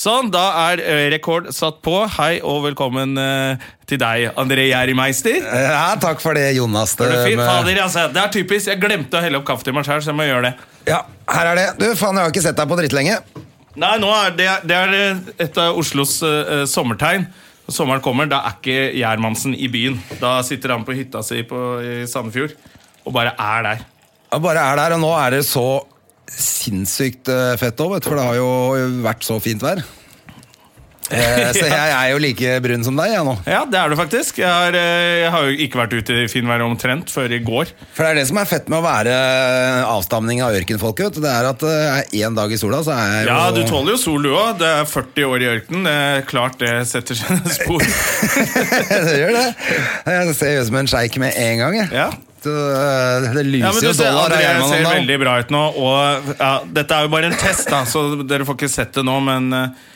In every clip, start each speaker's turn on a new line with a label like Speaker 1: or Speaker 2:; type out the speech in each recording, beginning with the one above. Speaker 1: Sånn, da er eh, rekord satt på. Hei og velkommen eh, til deg, André Gjerrimeister.
Speaker 2: Ja, takk for det, Jonas.
Speaker 1: Er du
Speaker 2: Det-
Speaker 1: fin? Fader, altså, det er typisk. Jeg glemte å helle opp kaffe til meg sjøl, så jeg må gjøre det.
Speaker 2: Ja, her er det. Du, faen, jeg har ikke sett deg på drittlenge.
Speaker 1: Nei, nå er det, det er eh, et av Oslos eh, eh, sommertegn. Når sommeren kommer, da er ikke Gjermansen i byen. Da sitter han på hytta si på, i Sandefjord og bare er der.
Speaker 2: Jeg bare er der, og nå er det så sinnssykt eh, fett òg, vet du, for det har jo vært så fint vær. Eh, Så jeg er jo like brun som deg, jeg nå.
Speaker 1: Ja, det er du faktisk. Jeg har, eh, jeg har jo ikke vært ute i finværet omtrent før i går.
Speaker 2: For det er det som er fett med å være avstamning av ørkenfolket, vet du. Det er at det er én dag i sola, så er jeg jo
Speaker 1: Ja, du tåler jo sol, du òg. Det er 40 år i ørkenen. Det er klart det setter sine spor.
Speaker 2: det gjør det. Jeg ser ut som en sjeik med en gang, jeg.
Speaker 1: Ja.
Speaker 2: Så, eh, Det lyser
Speaker 1: Ja, men
Speaker 2: jo
Speaker 1: du ser,
Speaker 2: dollar av
Speaker 1: André ser
Speaker 2: Gjerman
Speaker 1: veldig bra ut nå, og ja, dette er jo bare en test, da, så dere får ikke sett det nå, men eh,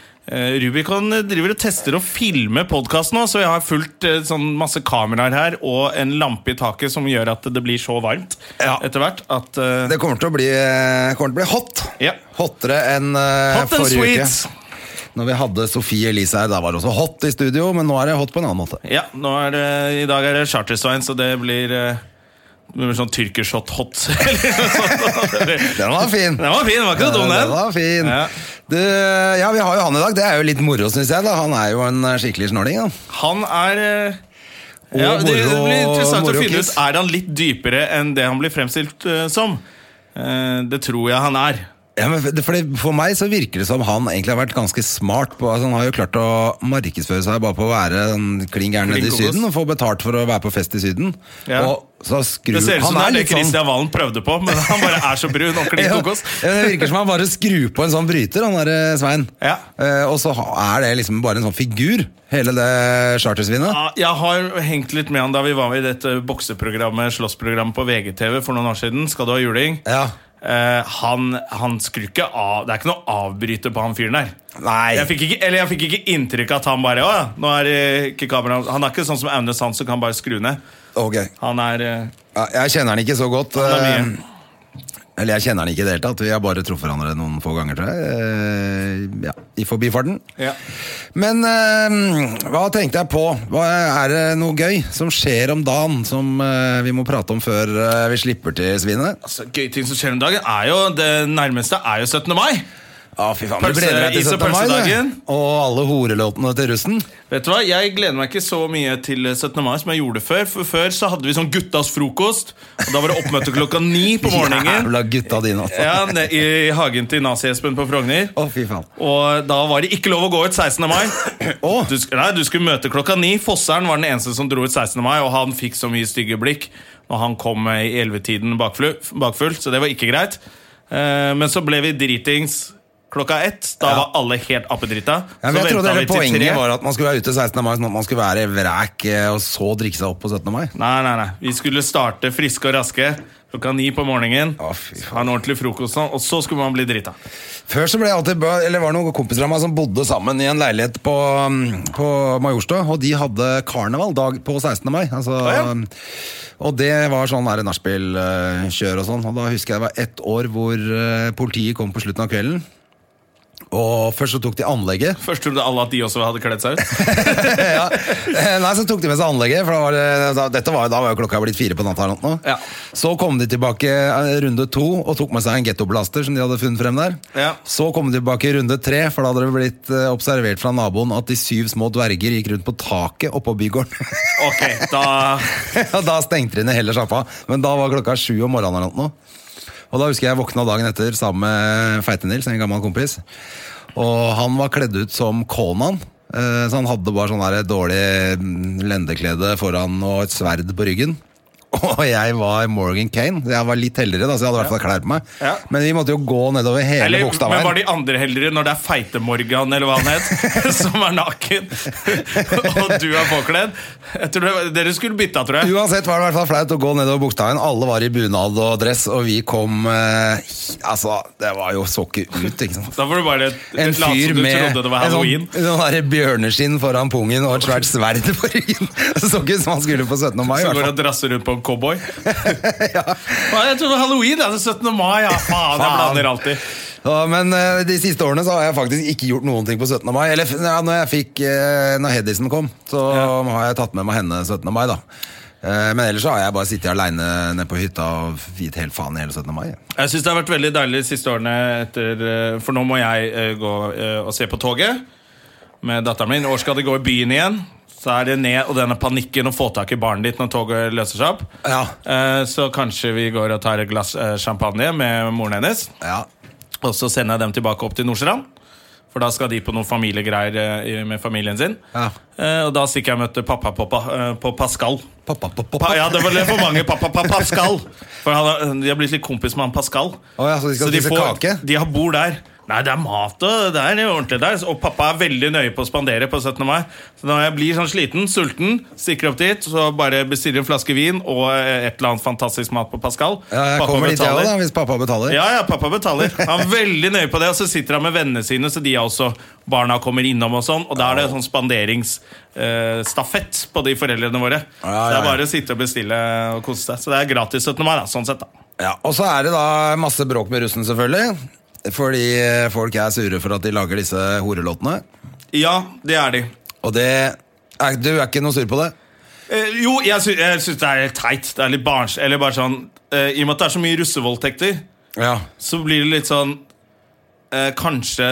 Speaker 1: Rubicon driver og tester og filmer podkast nå, så jeg har fulgt eh, sånn masse kameraer her og en lampe i taket som gjør at det blir så varmt
Speaker 2: Ja.
Speaker 1: etter hvert at eh,
Speaker 2: Det kommer til å bli, eh, kommer til å bli hot.
Speaker 1: Ja.
Speaker 2: Hottere enn eh,
Speaker 1: Hot and
Speaker 2: forrige
Speaker 1: sweet!
Speaker 2: uke. Når vi hadde Sofie Elise her, da var det også hot i studio, men nå er det hot på en annen måte.
Speaker 1: Ja, nå er det, i dag er det Charterstein, så det blir, eh, det blir sånn tyrkershot hot. eller noe sånt.
Speaker 2: Den var fin!
Speaker 1: Den var fin, den var ikke så dum, den.
Speaker 2: Den var fin.
Speaker 1: Ja.
Speaker 2: Du, ja, vi har jo han i dag. Det er jo litt moro, syns jeg. da Han er jo en eh, skikkelig snåling. da.
Speaker 1: Han er eh,
Speaker 2: Og
Speaker 1: ja, det, det blir
Speaker 2: moro-
Speaker 1: interessant å finne ut
Speaker 2: morokiss.
Speaker 1: Er han litt dypere enn det han blir fremstilt eh, som. Eh, det tror jeg han er.
Speaker 2: Ja, men for, for, det, for meg så virker det som han egentlig har vært ganske smart. På, altså, han har jo klart å markedsføre seg bare på å være en klin gæren nede i
Speaker 1: Klin kokos.
Speaker 2: Syden og få betalt for å være på fest i Syden.
Speaker 1: Ja.
Speaker 2: Og så skrur
Speaker 1: Det ser ut som
Speaker 2: han
Speaker 1: det
Speaker 2: er
Speaker 1: er det
Speaker 2: litt sånn-
Speaker 1: Christian Valen prøvde på, men han bare er så brun og klin
Speaker 2: Ja,
Speaker 1: kokos.
Speaker 2: ja, men det virker som han bare skrur på en sånn bryter, han der eh, Svein.
Speaker 1: Ja.
Speaker 2: Eh, og så ha- er det liksom bare en sånn figur, hele det chartersvinet.
Speaker 1: Ja, Jeg har hengt litt med han da vi var med i dette bokseprogrammet slåssprogrammet på VGTV for noen år siden. Skal du ha juling?
Speaker 2: Ja.
Speaker 1: Eh, han, han skrur ikke av Det er ikke noe avbryter på han fyren der.
Speaker 2: Nei.
Speaker 1: Jeg fikk ikke, eller jeg fikk ikke inntrykk av at han bare Å ja, nå er det ikke kamera Han er ikke sånn som Aune Sand som kan bare skru ned.
Speaker 2: Ok.
Speaker 1: Han er eh,
Speaker 2: Ja, jeg kjenner han ikke så godt.
Speaker 1: Han er
Speaker 2: eh,
Speaker 1: mye.
Speaker 2: Eller jeg kjenner han ikke i det hele tatt. Vi har bare truffet hverandre noen få ganger, tror jeg. Eh, Ja, I forbifarten.
Speaker 1: Ja.
Speaker 2: Men eh, hva tenkte jeg på? Hva, er det noe gøy som skjer om dagen som eh, vi må prate om før eh, vi slipper til svinet?
Speaker 1: Altså, gøy ting som skjer om dagen er jo Det nærmeste er jo 17. mai.
Speaker 2: Ja, fy faen.
Speaker 1: Pølse-
Speaker 2: du gleder deg til
Speaker 1: is og
Speaker 2: 17. mai,
Speaker 1: pølsedagen.
Speaker 2: du. Og alle horelåtene til russen.
Speaker 1: Vet du hva, Jeg gleder meg ikke så mye til 17. mai som jeg gjorde før. For Før så hadde vi sånn guttas frokost. Og Da var det oppmøte klokka ni på morgenen.
Speaker 2: Jævla gutta dine, altså.
Speaker 1: Ja, ned I hagen til Nazi-Espen på Frogner.
Speaker 2: Å, fy faen.
Speaker 1: Og da var det ikke lov å gå ut 16. mai.
Speaker 2: Å.
Speaker 1: Du, sk- nei, du skulle møte klokka ni. Fosseren var den eneste som dro ut 16. mai, og han fikk så mye stygge blikk når han kom eh, i 11-tiden bakfull, bakfull, så det var ikke greit. Eh, men så ble vi dritings klokka ett. Da
Speaker 2: Ja.
Speaker 1: var alle helt appedrita.
Speaker 2: Ja,
Speaker 1: så
Speaker 2: men jeg trodde
Speaker 1: ventet
Speaker 2: hele poenget
Speaker 1: tre.
Speaker 2: var at man skulle være ute 16. mai, sånn at man skulle være vræk eh, og så drikke seg opp på 17. mai.
Speaker 1: Nei, nei, nei. Vi skulle starte friske og raske klokka ni på morgenen.
Speaker 2: Å, fy faen.
Speaker 1: ha en ordentlig frokost, og så skulle man bli drita.
Speaker 2: Før så ble jeg alltid, bø- eller var det noen kompiser av meg som bodde sammen i en leilighet på, mm, på Majorstua, og de hadde karneval dag på 16. mai. Altså,
Speaker 1: ja.
Speaker 2: mm, Og det var sånn der nachspiel-kjør og sånn. Og da husker jeg det var ett år hvor eh, politiet kom på slutten av kvelden. Og først så tok de anlegget.
Speaker 1: Først trodde alle at de også hadde kledd seg ut.
Speaker 2: ja. Eh, Nei, så tok de med seg anlegget, for da var, det- da, dette var, jo- da var jo klokka blitt fire på natta. eller noe.
Speaker 1: Ja.
Speaker 2: Så kom de tilbake eh, runde to og tok med seg en gettoblaster som de hadde funnet frem der.
Speaker 1: Ja.
Speaker 2: Så kom de tilbake i runde tre, for da hadde det blitt eh, observert fra naboen at de syv små dverger gikk rundt på taket oppå bygården.
Speaker 1: Ok, da
Speaker 2: og da stengte de ned hele sjappa, men da var klokka sju om morgenen eller noe. Og da husker jeg jeg våkna dagen etter sammen med Feite-Nils, en gammel kompis. Og han var kledd ut som Conan. eh, Så han hadde bare sånn der dårlig mm, lendeklede foran og et sverd på ryggen. og jeg var Morgan Kane. Jeg var litt heldigere, da, så jeg hadde i hvert fall klær på meg.
Speaker 1: Ja.
Speaker 2: Men vi måtte jo gå nedover hele
Speaker 1: Eller, men var
Speaker 2: Bogstadveien.
Speaker 1: de andre heldigere når det er Feite-Morgan eller hva han het, som er naken, og du er påkledd? Jeg tror det, dere skulle bytta, tror jeg.
Speaker 2: Uansett var det i hvert fall flaut å gå nedover Bogstadveien. Alle var i bunad og dress, og vi kom eh, Altså, det var jo så ikke ut, ikke sant.
Speaker 1: Da får du bare
Speaker 2: En
Speaker 1: late som
Speaker 2: fyr
Speaker 1: du
Speaker 2: med
Speaker 1: trodde det var
Speaker 2: en sånn,
Speaker 1: halloween.
Speaker 2: sånn der bjørneskinn foran pungen og et svært sverd på ryggen. Det så ikke ut som han skulle på 17. mai. i
Speaker 1: Så
Speaker 2: hvert
Speaker 1: går
Speaker 2: fall.
Speaker 1: og drasser rundt på en cowboy. Nei, Jeg trodde halloween er det 17. mai. Ja, faen, jeg
Speaker 2: Faen.
Speaker 1: blander alltid.
Speaker 2: Ja, men eh, de siste årene så har jeg faktisk ikke gjort noen ting på 17. mai. Eller f- ja, når jeg fikk eh, Når Hedisen kom, så har jeg tatt med meg henne 17. mai, da. Eh, Men ellers så har jeg bare sittet aleine nede på hytta og gitt helt faen i hele 17. mai.
Speaker 1: Jeg synes det har vært veldig deilig de siste årene, etter, eh, for nå må jeg eh, gå eh, og se på toget med datteren min. I år skal de gå i byen igjen. Så er det ned og denne panikken å få tak i barnet ditt når toget løser seg opp.
Speaker 2: Ja.
Speaker 1: Eh, Så kanskje vi går og tar et glass eh, champagne med moren hennes.
Speaker 2: Ja.
Speaker 1: Og så sender jeg dem tilbake opp til Nordstrand. For da skal de på noen familiegreier eh, i- med familien sin.
Speaker 2: Ja.
Speaker 1: Eh, Og da stikker jeg og møter pappa på, pa- eh, på Pascal.
Speaker 2: Pappa, pappa, pappa.
Speaker 1: Pa, ja, det var litt for mange pappa, pappa, Pascal. For han, har- de har blitt litt kompis med han Pascal.
Speaker 2: Å ja, så de skal spise kake?
Speaker 1: De har bord der. Nei, det er mat og det er ordentlig der. Og pappa er veldig nøye på å spandere på 17. mai. Så når jeg blir sånn sliten, sulten, stikker opp dit, så bare bestiller en flaske vin og eh, et eller annet fantastisk mat på Pascal.
Speaker 2: Ja, jeg
Speaker 1: Pappa
Speaker 2: kommer dit, jeg
Speaker 1: betaler.
Speaker 2: òg, da, hvis pappa betaler.
Speaker 1: Ja, ja, pappa betaler. Han er veldig nøye på det. Og så sitter han med vennene sine, så de er også barna kommer innom og sånn. Og da er det sånn spanderingsstafett på de foreldrene våre.
Speaker 2: Ja, ja, ja.
Speaker 1: Så det er bare å sitte og bestille og kose seg. Så det er gratis 17. mai, da. Sånn sett, da.
Speaker 2: Ja, og så er det da masse bråk med russen, selvfølgelig. Fordi eh, folk er sure for at de lager disse horelåtene.
Speaker 1: Ja, det er de.
Speaker 2: Og det er, Du er ikke noe sur på det?
Speaker 1: Eh, jo, jeg, sy jeg syns det er helt teit. Det er litt barns... Eller bare sånn eh, I og med at det er så mye russevoldtekter,
Speaker 2: Ja.
Speaker 1: så blir det litt sånn eh, Kanskje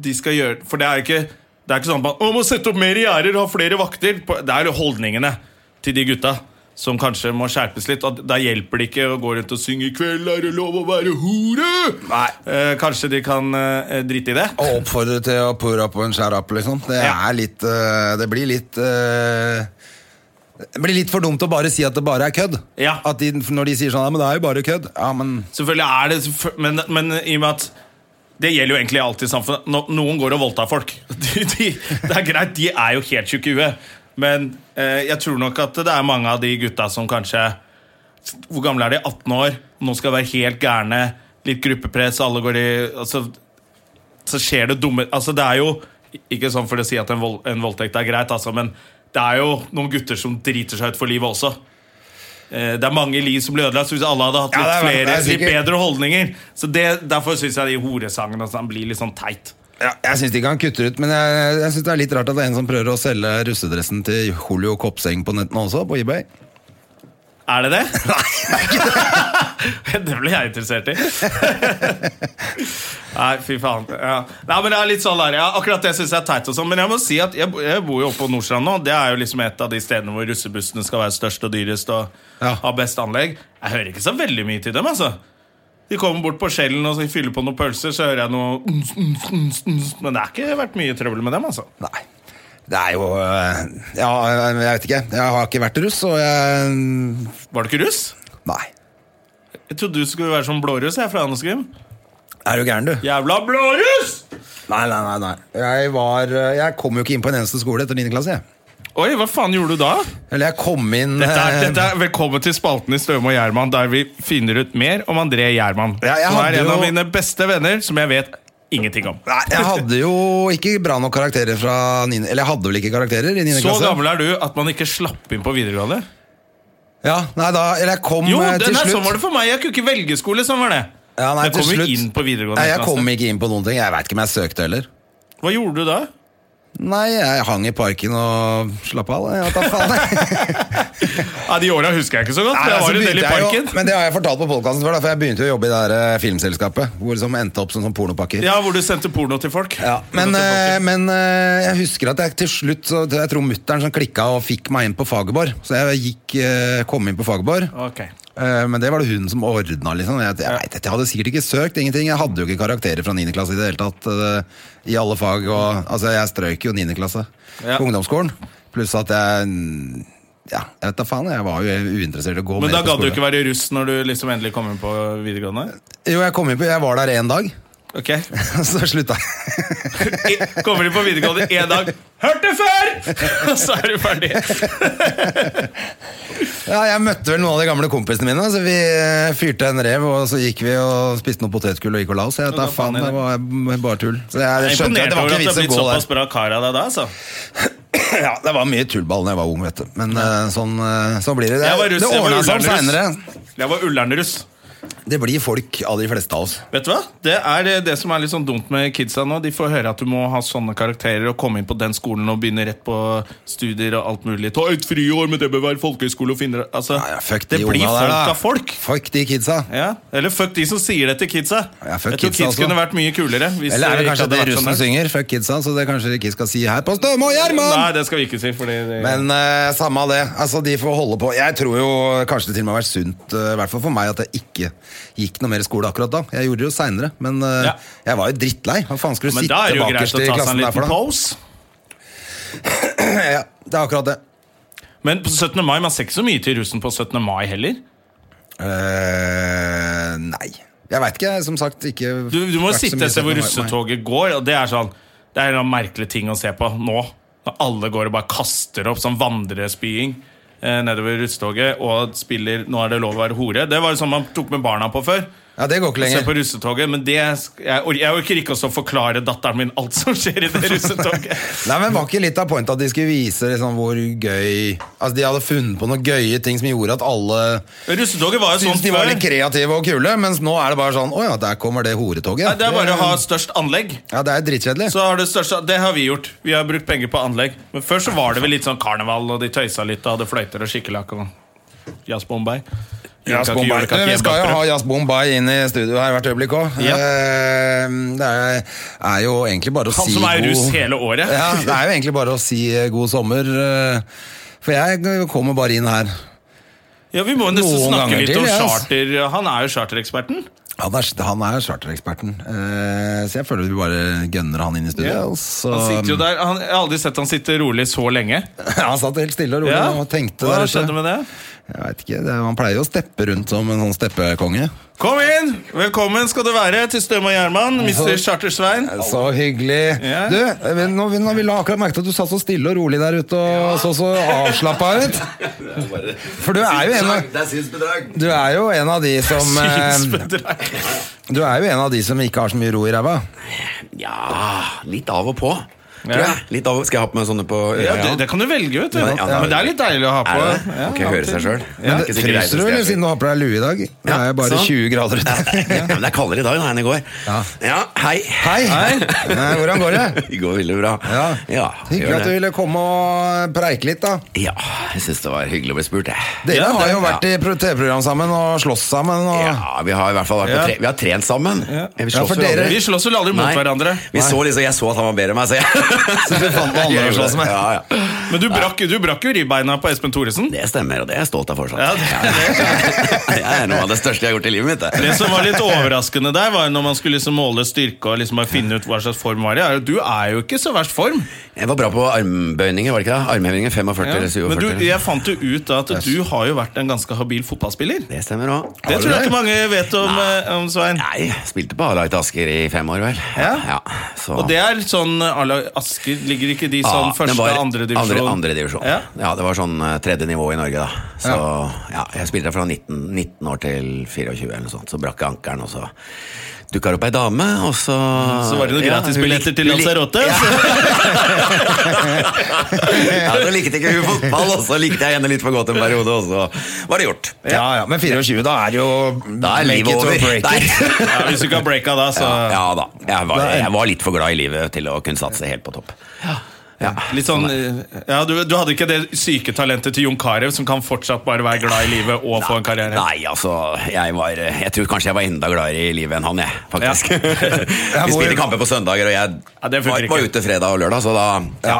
Speaker 1: de skal gjøre For det er jo ikke, det er ikke sånn at man må sette opp mer gjerder og ha flere vakter. På- Det er jo holdningene til de gutta som kanskje må skjerpes litt. Og da hjelper det ikke å gå rundt og synge 'I kveld er det lov å være hore'.
Speaker 2: Nei.
Speaker 1: Eh, kanskje de kan eh, drite i det.
Speaker 2: Å oppfordre til å pour up and share up, liksom. Det,
Speaker 1: Ja.
Speaker 2: er litt, eh, det blir litt eh, Det blir litt for dumt å bare si at det bare er kødd.
Speaker 1: Ja.
Speaker 2: At de, når de sier sånn Ja, men det er jo bare kødd. Ja, men
Speaker 1: Selvfølgelig er det selvfø- Men, men i og med at det gjelder jo egentlig alltid i samfunnet. No, noen går og voldtar folk. De, de, det er greit, de er jo helt tjukke i huet. Men eh, jeg tror nok at det er mange av de gutta som kanskje Hvor gamle er de? 18 år? Nå skal være helt gærne. Litt gruppepress, alle går i altså, Så skjer det dumme Altså, det er jo ikke sånn for å si at en, vold, en voldtekt er greit, altså, men det er jo noen gutter som driter seg ut for livet også. Eh, Det er mange liv som blir ødelagt. Så hvis alle hadde hatt
Speaker 2: Ja,
Speaker 1: litt
Speaker 2: det er-
Speaker 1: flere,
Speaker 2: det er
Speaker 1: litt
Speaker 2: sikkert-
Speaker 1: bedre holdninger Så det, Derfor syns jeg de horesangene og sånn blir litt sånn teit.
Speaker 2: ja, Jeg syns de kan kutte ut, men jeg, jeg syns det er litt rart at det er en som prøver å selge russedressen til Julio Kopseng på nettene også, på eBay.
Speaker 1: Er det det? det blir jeg interessert i. Nei, fy faen. Ja. Nei, men det er litt sånn der, ja, Akkurat det syns jeg er teit. og sånn Men jeg må si at jeg, jeg bor jo oppe på Nordstrand nå. Det er jo liksom et av de stedene hvor russebussene skal være størst og dyrest og
Speaker 2: Ja.
Speaker 1: ha best anlegg. Jeg hører ikke så veldig mye til dem, altså. De kommer bort på skjellen og så fyller på noen pølser, så hører jeg noe uns, uns, uns, uns. Men det har ikke vært mye trøbbel med dem, altså.
Speaker 2: Nei. Det er jo eh, Ja, jeg vet ikke. Jeg har ikke vært russ, og jeg
Speaker 1: Var du ikke russ?
Speaker 2: Nei.
Speaker 1: Jeg trodde du skulle være sånn blåruss jeg, fra Andesgym.
Speaker 2: Er du gæren, du?
Speaker 1: Jævla blåruss!
Speaker 2: Nei, nei, nei. nei. Jeg, var, eh, jeg kom jo ikke inn på en eneste skole etter 9. klasse. jeg.
Speaker 1: Oi, hva faen gjorde du da?
Speaker 2: Eller jeg kom inn
Speaker 1: Dette er,
Speaker 2: eh,
Speaker 1: dette er Velkommen til spalten i Støme og Gjerman, der vi finner ut mer om André Gjerman.
Speaker 2: Ja, jeg
Speaker 1: som er
Speaker 2: hadde
Speaker 1: en av
Speaker 2: jo-
Speaker 1: mine beste venner, som jeg vet ingenting om.
Speaker 2: Nei, jeg hadde jo ikke bra nok karakterer fra 9. Eller jeg hadde vel ikke karakterer i 9.
Speaker 1: Så
Speaker 2: klasse?
Speaker 1: gammel er du at man ikke slapp inn på videregående?
Speaker 2: Ja, nei da, eller jeg kom
Speaker 1: Jo,
Speaker 2: eh,
Speaker 1: det,
Speaker 2: til
Speaker 1: nei,
Speaker 2: slutt.
Speaker 1: sånn var det for meg. Jeg kunne ikke velge skole. sånn var det
Speaker 2: Ja, nei,
Speaker 1: Jeg
Speaker 2: til
Speaker 1: kom jo
Speaker 2: slutt.
Speaker 1: inn på videregående.
Speaker 2: Nei, jeg
Speaker 1: klasse.
Speaker 2: kom ikke inn på noen ting. Jeg veit ikke om jeg søkte heller.
Speaker 1: Hva gjorde du da?
Speaker 2: Nei, jeg hang i parken og slapp av. Jeg vet da faen, jeg.
Speaker 1: Ja, de åra husker jeg ikke så godt.
Speaker 2: Nei,
Speaker 1: for jeg
Speaker 2: så
Speaker 1: var en del i
Speaker 2: begynte jeg jo-
Speaker 1: parken.
Speaker 2: Men det har jeg fortalt på podkasten før, da, for jeg begynte jo å jobbe i det her eh, filmselskapet. Hvor som endte opp som sånn pornopakker.
Speaker 1: Ja, Hvor du sendte porno til folk.
Speaker 2: Ja, men,
Speaker 1: Porno til folk.
Speaker 2: eh, men eh, jeg husker at jeg til slutt så, Jeg tror mutter'n som klikka og fikk meg inn på Fagerborg. Så jeg gikk, eh, kom inn på Fagerborg.
Speaker 1: Ok.
Speaker 2: Eh, Men det var det hun som ordna. Liksom. Jeg, jeg, vet ikke, jeg hadde sikkert ikke søkt ingenting. Jeg hadde jo ikke karakterer fra 9. klasse i det hele tatt. eh, I alle fag. Og, altså, jeg strøyk jo 9. klasse
Speaker 1: Ja.
Speaker 2: på ungdomsskolen. Pluss at jeg mm, ja, jeg vet da faen, jeg var jo uinteressert i å gå
Speaker 1: Men
Speaker 2: mer
Speaker 1: da
Speaker 2: på
Speaker 1: gadd du
Speaker 2: skole.
Speaker 1: ikke være russ når du liksom endelig kom inn på videregående?
Speaker 2: Jo, jeg kom inn på, jeg var der en dag,
Speaker 1: Ok
Speaker 2: så slutta jeg.
Speaker 1: I- Kommer de på videregående en dag 'Hørt det før!' Og så er du ferdig.
Speaker 2: Ja, jeg møtte vel noen av de gamle kompisene mine, så vi eh, fyrte en rev, og så gikk vi og spiste noe potetgull og gikk og la oss. Jeg vet
Speaker 1: Ja,
Speaker 2: da
Speaker 1: da faen
Speaker 2: faen, det var bare tull. Så jeg
Speaker 1: Jeg er
Speaker 2: skjønte
Speaker 1: imponert
Speaker 2: at det
Speaker 1: over
Speaker 2: var
Speaker 1: at det har
Speaker 2: ikke
Speaker 1: blitt
Speaker 2: vits å gå der.
Speaker 1: såpass bra kar av deg da. Altså.
Speaker 2: Ja, det var mye tullball da jeg var ung, vet du. Men eh, sånn, eh, sånn blir det.
Speaker 1: Jeg var
Speaker 2: Det,
Speaker 1: russ,
Speaker 2: det
Speaker 1: jeg var
Speaker 2: ordna seg opp seinere.
Speaker 1: Ullern-russ. Jeg var Ullern-russ.
Speaker 2: Det blir folk av de fleste av oss.
Speaker 1: Vet du hva? Det er det, det som er litt sånn dumt med kidsa nå. De får høre at du må ha sånne karakterer og komme inn på den skolen og begynne rett på studier og alt mulig. Ta et friår, men det bør være folkehøyskole og finne altså,
Speaker 2: Ja, ja, fuck de
Speaker 1: Det blir
Speaker 2: unga
Speaker 1: folk
Speaker 2: der, da.
Speaker 1: av folk.
Speaker 2: Fuck de kidsa.
Speaker 1: Ja. Eller fuck de som sier det til kidsa.
Speaker 2: Ja, fuck
Speaker 1: Jeg tror
Speaker 2: kidsa
Speaker 1: kids
Speaker 2: også.
Speaker 1: kunne vært mye kulere. Hvis
Speaker 2: Eller er det
Speaker 1: ikke
Speaker 2: kanskje
Speaker 1: hadde
Speaker 2: det
Speaker 1: vært
Speaker 2: russen
Speaker 1: sånn der.
Speaker 2: synger? Fuck kidsa, så det kanskje vi ikke skal si her på Støme og Gjerman!
Speaker 1: Nei, det skal vi ikke si. Fordi det,
Speaker 2: Men eh, samme av det. Altså, de får holde på. Jeg tror jo kanskje det til og med har vært sunt, eh, i hvert fall for meg, at jeg ikke gikk noe mer skole akkurat da. Jeg gjorde det jo seinere, men eh,
Speaker 1: Ja.
Speaker 2: jeg var jo drittlei. Hva faen skulle du
Speaker 1: Men
Speaker 2: sitte
Speaker 1: da er det jo greit
Speaker 2: bakerst
Speaker 1: å ta
Speaker 2: i
Speaker 1: seg en
Speaker 2: klassen der
Speaker 1: liten
Speaker 2: for, da?
Speaker 1: pose.
Speaker 2: Ja, det er akkurat det.
Speaker 1: Men på 17. mai, man ser ikke så mye til russen på 17. mai heller.
Speaker 2: Eh, nei. Jeg veit ikke, jeg, som sagt. Ikke
Speaker 1: Du, du må
Speaker 2: vært så
Speaker 1: jo sitte
Speaker 2: mye
Speaker 1: og se hvor
Speaker 2: sett med meg.
Speaker 1: russetoget går, og det er sånn Det er en merkelig ting å se på nå. Når alle går og bare kaster opp sånn vandrespying eh, nedover russetoget og spiller 'Nå er det lov å være hore'. Det var jo sånn man tok med barna på før.
Speaker 2: Ja, det går ikke
Speaker 1: Se på
Speaker 2: lenger.
Speaker 1: russetoget, men det, sk- jeg, or- jeg orker ikke også å forklare datteren min alt som skjer i det russetoget.
Speaker 2: Nei, men Var ikke litt av pointet at de skulle vise liksom hvor gøy Altså, de hadde funnet på noen gøye ting som gjorde at alle
Speaker 1: Russetoget var jo sånn
Speaker 2: syntes de var litt
Speaker 1: før.
Speaker 2: kreative og kule, mens nå er det bare sånn Å ja, der kommer det horetoget.
Speaker 1: Nei, Det er bare å ha størst anlegg.
Speaker 2: Ja, det er dritkjedelig.
Speaker 1: Så har det største Det har vi gjort. Vi har brukt penger på anlegg. Men før så var det vel litt sånn karneval, og de tøysa litt og hadde fløyter og skikkelakk og Jazz Bombay.
Speaker 2: Jazz Bombay.
Speaker 1: Julekake,
Speaker 2: Vi skal jo
Speaker 1: julekake,
Speaker 2: ha Jazz Bombay inn i studio her hvert øyeblikk òg.
Speaker 1: Ja.
Speaker 2: Det er- er jo egentlig bare å
Speaker 1: Han
Speaker 2: si
Speaker 1: som er
Speaker 2: god-
Speaker 1: russ hele året.
Speaker 2: Ja, det er jo egentlig bare å si eh, god sommer. eh, For jeg kommer bare inn her.
Speaker 1: Ja, vi må jo nesten
Speaker 2: Noen
Speaker 1: snakke litt
Speaker 2: ganger til,
Speaker 1: om
Speaker 2: ja, ass.
Speaker 1: charter. Han er jo chartereksperten.
Speaker 2: Han er, han er chartereksperten, eh, så jeg føler vi bare gønner han inn i studio. og så-
Speaker 1: Han sitter jo der han, Jeg har aldri sett han sitte rolig så lenge.
Speaker 2: Han satt helt stille og rolig
Speaker 1: Ja.
Speaker 2: og tenkte
Speaker 1: Hva
Speaker 2: der
Speaker 1: skjedde
Speaker 2: ute.
Speaker 1: med det?
Speaker 2: Jeg vet ikke, det, Han pleier jo å steppe rundt som en sånn steppekonge.
Speaker 1: Kom inn! Velkommen skal du være til Støme og Gjerman, Mr. Charter-Svein.
Speaker 2: Så hyggelig.
Speaker 1: Ja.
Speaker 2: Du, eh, nå, nå ville jeg akkurat merket at du satt så stille og rolig der ute og så så avslappa ut. For du er jo en av
Speaker 3: Det er synsbedrag.
Speaker 2: du er jo en av de som eh,
Speaker 1: Synsbedrag.
Speaker 2: Du er jo en av de som ikke har så mye ro i ræva.
Speaker 3: Ja, litt av og på. Tror
Speaker 1: Ja.
Speaker 3: jeg. Litt av og, skal jeg ha på meg sånne på øya?
Speaker 1: Ja, det, det kan du velge, vet du.
Speaker 3: Ja, ja.
Speaker 1: Men det er litt deilig å ha på.
Speaker 3: Er det det?
Speaker 1: Ja,
Speaker 3: Kan jeg høre seg sjøl?
Speaker 2: Men det- Fryser du, eller siden du har på deg lue i dag? Det er jo bare 20 grader ute.
Speaker 3: ja, men det er kaldere i dag da enn i går.
Speaker 2: Ja.
Speaker 3: ja hei.
Speaker 2: Hei! Nei, Hvordan går det?
Speaker 3: Det går veldig bra.
Speaker 2: Ja.
Speaker 3: ja
Speaker 2: Hyggelig
Speaker 3: gjør
Speaker 2: at du
Speaker 3: det.
Speaker 2: ville komme og preike litt, da.
Speaker 3: Ja, jeg syns det var hyggelig å bli spurt, jeg.
Speaker 2: Dere
Speaker 1: Ja,
Speaker 2: har
Speaker 1: det-
Speaker 2: jo vært i pro- TV-program sammen og slåss sammen. Og...
Speaker 3: Ja, vi har i hvert fall vært på
Speaker 1: Ja.
Speaker 3: tre Vi har trent sammen. Vi
Speaker 2: Ah. Ja,
Speaker 3: jo
Speaker 2: for dere-
Speaker 3: aldri.
Speaker 1: Vi slåss vel aldri mot
Speaker 3: Nei.
Speaker 1: hverandre.
Speaker 3: Vi så liksom, jeg så at han var bedre enn meg, så jeg
Speaker 2: Så du fant noen andre å slåss med.
Speaker 3: Ja, ja.
Speaker 1: Men du brakk, du brakk jo ribbeina på Espen Thoresen.
Speaker 3: Det stemmer, og det er jeg stolt av fortsatt.
Speaker 1: Ja, det-
Speaker 3: det er noe av det største jeg har gjort i livet mitt. det.
Speaker 1: Det som var litt overraskende der, var jo når man skulle liksom måle styrke og liksom bare finne ut hva slags form var i, er jo at du er jo ikke så verst form.
Speaker 3: Jeg var bra på armbøyninger, var det ikke det? Armhevinger 45
Speaker 1: Ja.
Speaker 3: eller 47.
Speaker 1: Men du, jeg fant jo ut da at du har jo vært en ganske habil fotballspiller.
Speaker 3: Det stemmer òg.
Speaker 1: Det tror jeg ikke mange vet om, eh, om Svein.
Speaker 3: Nei, spilte på A-lag til Asker i fem år, vel.
Speaker 1: Ja.
Speaker 3: så.
Speaker 1: Og det er sånn à la Asker, ligger ikke de sånn
Speaker 3: Ja,
Speaker 1: første,
Speaker 3: den var
Speaker 1: andre divisjon?
Speaker 3: Andre, andre divisjon.
Speaker 1: Ja.
Speaker 3: Ja. det var sånn eh, tredje nivå i Norge, da. Så ja, jeg spilte der fra 19, 19 år til 24 eller noe sånt. Så brakk jeg ankelen, og så dukka det opp ei dame, og så
Speaker 1: Så var det noen
Speaker 3: Ja, hun lik-
Speaker 1: gratisbilletter
Speaker 3: hun
Speaker 1: til
Speaker 3: lik-
Speaker 1: Lanzarote. altså?
Speaker 3: Ja.
Speaker 1: så-
Speaker 3: ja, så likte ikke hun fotball, og så likte jeg henne litt for godt en periode, og så var det gjort.
Speaker 2: Ja, ja, Men 24, da er det jo
Speaker 3: Da er
Speaker 2: make it
Speaker 3: livet
Speaker 2: or
Speaker 3: over.
Speaker 2: break it.
Speaker 3: Nei.
Speaker 1: Ja, hvis du ikke har breaka da, så
Speaker 3: Ja, ja da. Jeg var, jeg var litt for glad i livet til å kunne satse helt på topp. Ja.
Speaker 1: Litt sånn, eh, ja, du, du hadde ikke det syke talentet til Jon Carew, som kan fortsatt bare være glad i livet og få en karriere.
Speaker 3: Nei, altså jeg, var, jeg tror kanskje jeg var enda gladere i livet enn han, jeg. Faktisk.
Speaker 1: Ja.
Speaker 3: Vi spilte kamper på søndager, og jeg
Speaker 1: Ja, det funker
Speaker 3: var, var
Speaker 1: ikke.
Speaker 3: ute fredag og lørdag, så da ja.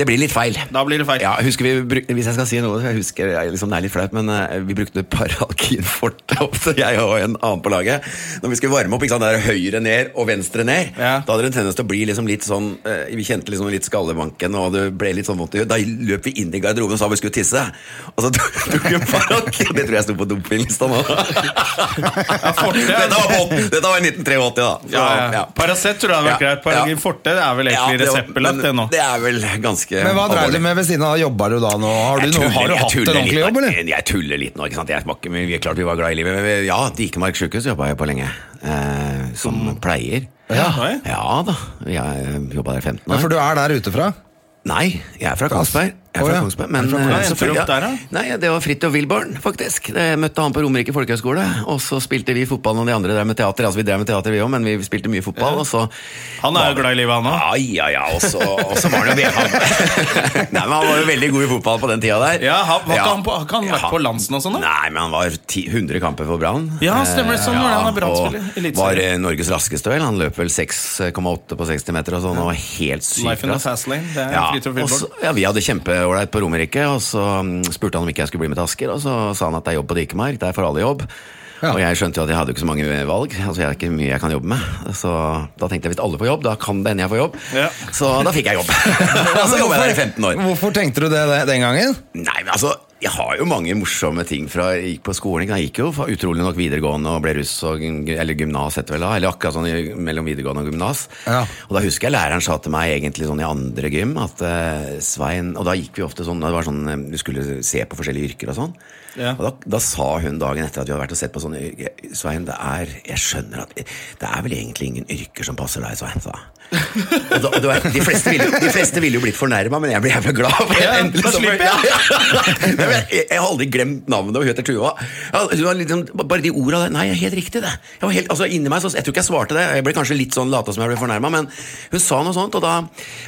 Speaker 3: Det blir litt feil.
Speaker 1: Da blir det feil.
Speaker 3: Ja, husker vi, bruk- Hvis jeg skal si noe, jeg husker jeg, liksom, det er litt flaut, men eh, vi brukte paralkin fortau, så jeg og en annen på laget. Når vi skulle varme opp, ikke sant, det er høyre ned og venstre ned.
Speaker 1: Ja.
Speaker 3: Da hadde det en tendens til å bli liksom litt sånn eh, Vi kjente liksom litt skallemanke tanken, og det ble litt sånn vondt i huet. Da løp vi inn i garderoben og sa vi skulle tisse. Og så tok tok vi en parokk. Det tror jeg sto på dopinglista nå.
Speaker 1: Forte er-
Speaker 3: Dette var, på, åtten- dette var i 1983, da. Så,
Speaker 1: Ja, ja. Paracet tror jeg hadde vært
Speaker 3: Ja,
Speaker 1: greit. Paragin
Speaker 3: ja.
Speaker 1: Forte er vel
Speaker 3: Ja,
Speaker 1: egentlig
Speaker 3: det var-
Speaker 1: reseptbelagt,
Speaker 3: men
Speaker 1: det nå.
Speaker 3: Det er vel ganske
Speaker 2: Men hva dreier du med ved siden av? Jobber du da nå? Har du,
Speaker 3: Jeg
Speaker 2: noe,
Speaker 3: tuller-
Speaker 2: har du
Speaker 3: jeg
Speaker 2: hatt en
Speaker 3: tuller litt
Speaker 2: ordentlig jobb,
Speaker 3: nå.
Speaker 2: eller?
Speaker 3: Jeg tuller litt nå. ikke sant? Jeg var ikke- men vi, klart vi var glad i livet. Men vi, ja, Dikemark sykehus jobba jeg på lenge. Eh, som
Speaker 2: Mm.
Speaker 3: pleier.
Speaker 1: Oi.
Speaker 3: Ja da. Jeg jobba der 15 år.
Speaker 2: Ja, for du er der ute fra?
Speaker 3: Nei, jeg er fra Kongsberg. Jeg er
Speaker 2: Å,
Speaker 3: fra
Speaker 2: ja.
Speaker 3: Kongsberg men,
Speaker 2: Er du fra
Speaker 1: Kongsberg?
Speaker 3: eh,
Speaker 1: Endte du opp der, da?
Speaker 3: Nei, Det var Fridtjof Wilborn, faktisk. Jeg møtte han på Romerike folkehøgskole. Og så spilte vi fotball, og de andre drev med teater. Altså, vi drev med teater, vi òg, men vi spilte mye fotball. Og så
Speaker 1: Han er jo glad i livet, han òg.
Speaker 3: Ja, ja, ja. Og så og så var han jo veldig Nei, men han var jo veldig god i fotball på den tida der.
Speaker 1: Ja, han- var ikke han på- har ikke han vært på Lansen og sånn, da?
Speaker 3: Nei, men han var ti, 100 kamper for Brann.
Speaker 1: Ja, stemmer det, sånn var det. Han er
Speaker 3: og
Speaker 1: Brann-spiller, eliteserie.
Speaker 3: Var eh, Norges raskeste, vel. Han løp vel 6,8 på 60 meter og sånn, og var helt sykt
Speaker 1: Life in the
Speaker 3: rask.
Speaker 1: fast lane. Det er
Speaker 3: Ja,
Speaker 1: Fridtjof
Speaker 3: og så,
Speaker 1: Wilborg.
Speaker 3: ja, vi hadde kjempeålreit på Romerike, og så mm, spurte han om ikke jeg skulle bli med til Asker, og så sa han at det er jobb på Dikemark, der får alle jobb.
Speaker 2: Ja.
Speaker 3: Og jeg skjønte jo at jeg hadde jo ikke så mange valg, altså jeg har ikke mye jeg kan jobbe med. Så da tenkte jeg hvis alle får jobb, da kan det hende jeg får jobb.
Speaker 1: Ja.
Speaker 3: Så da fikk jeg jobb. og så jobba jeg der i 15 år.
Speaker 2: Hvorfor tenkte du det det- den gangen?
Speaker 3: Nei, men altså, jeg har jo mange morsomme ting fra jeg gikk på skolen. ikke sant? Jeg gikk jo fra utrolig nok videregående og ble russ, og, eller gymnas etter vel da, eller akkurat sånn i- mellom videregående og gymnas.
Speaker 2: Ja.
Speaker 3: Og da husker jeg læreren sa til meg egentlig sånn i andre gym at eh, Svein Og da gikk vi ofte sånn, det var sånn eh, du skulle se på forskjellige yrker og sånn.
Speaker 1: Ja.
Speaker 3: Og da, da sa hun dagen etter at vi hadde vært og sett på sånne yrker Svein, det er Jeg skjønner at Det er vel egentlig ingen yrker som passer deg, Svein, sa hun. Og da, og du vet, de, fleste ville, de fleste ville jo blitt fornærma, men jeg ble jævla glad. For
Speaker 1: Ja,
Speaker 3: endelig
Speaker 1: da
Speaker 3: så ble-
Speaker 1: slipper jeg.
Speaker 3: Ja, ja. Nei, men Jeg jeg har aldri glemt navnet, og hun heter Tuva. Ja, hun var liksom, bare de orda der Nei, jeg er helt riktig, det. Jeg, var helt, altså, inni meg, så, jeg tror ikke jeg svarte det. Jeg ble kanskje litt sånn lata som jeg ble fornærma, men hun sa noe sånt, og, da,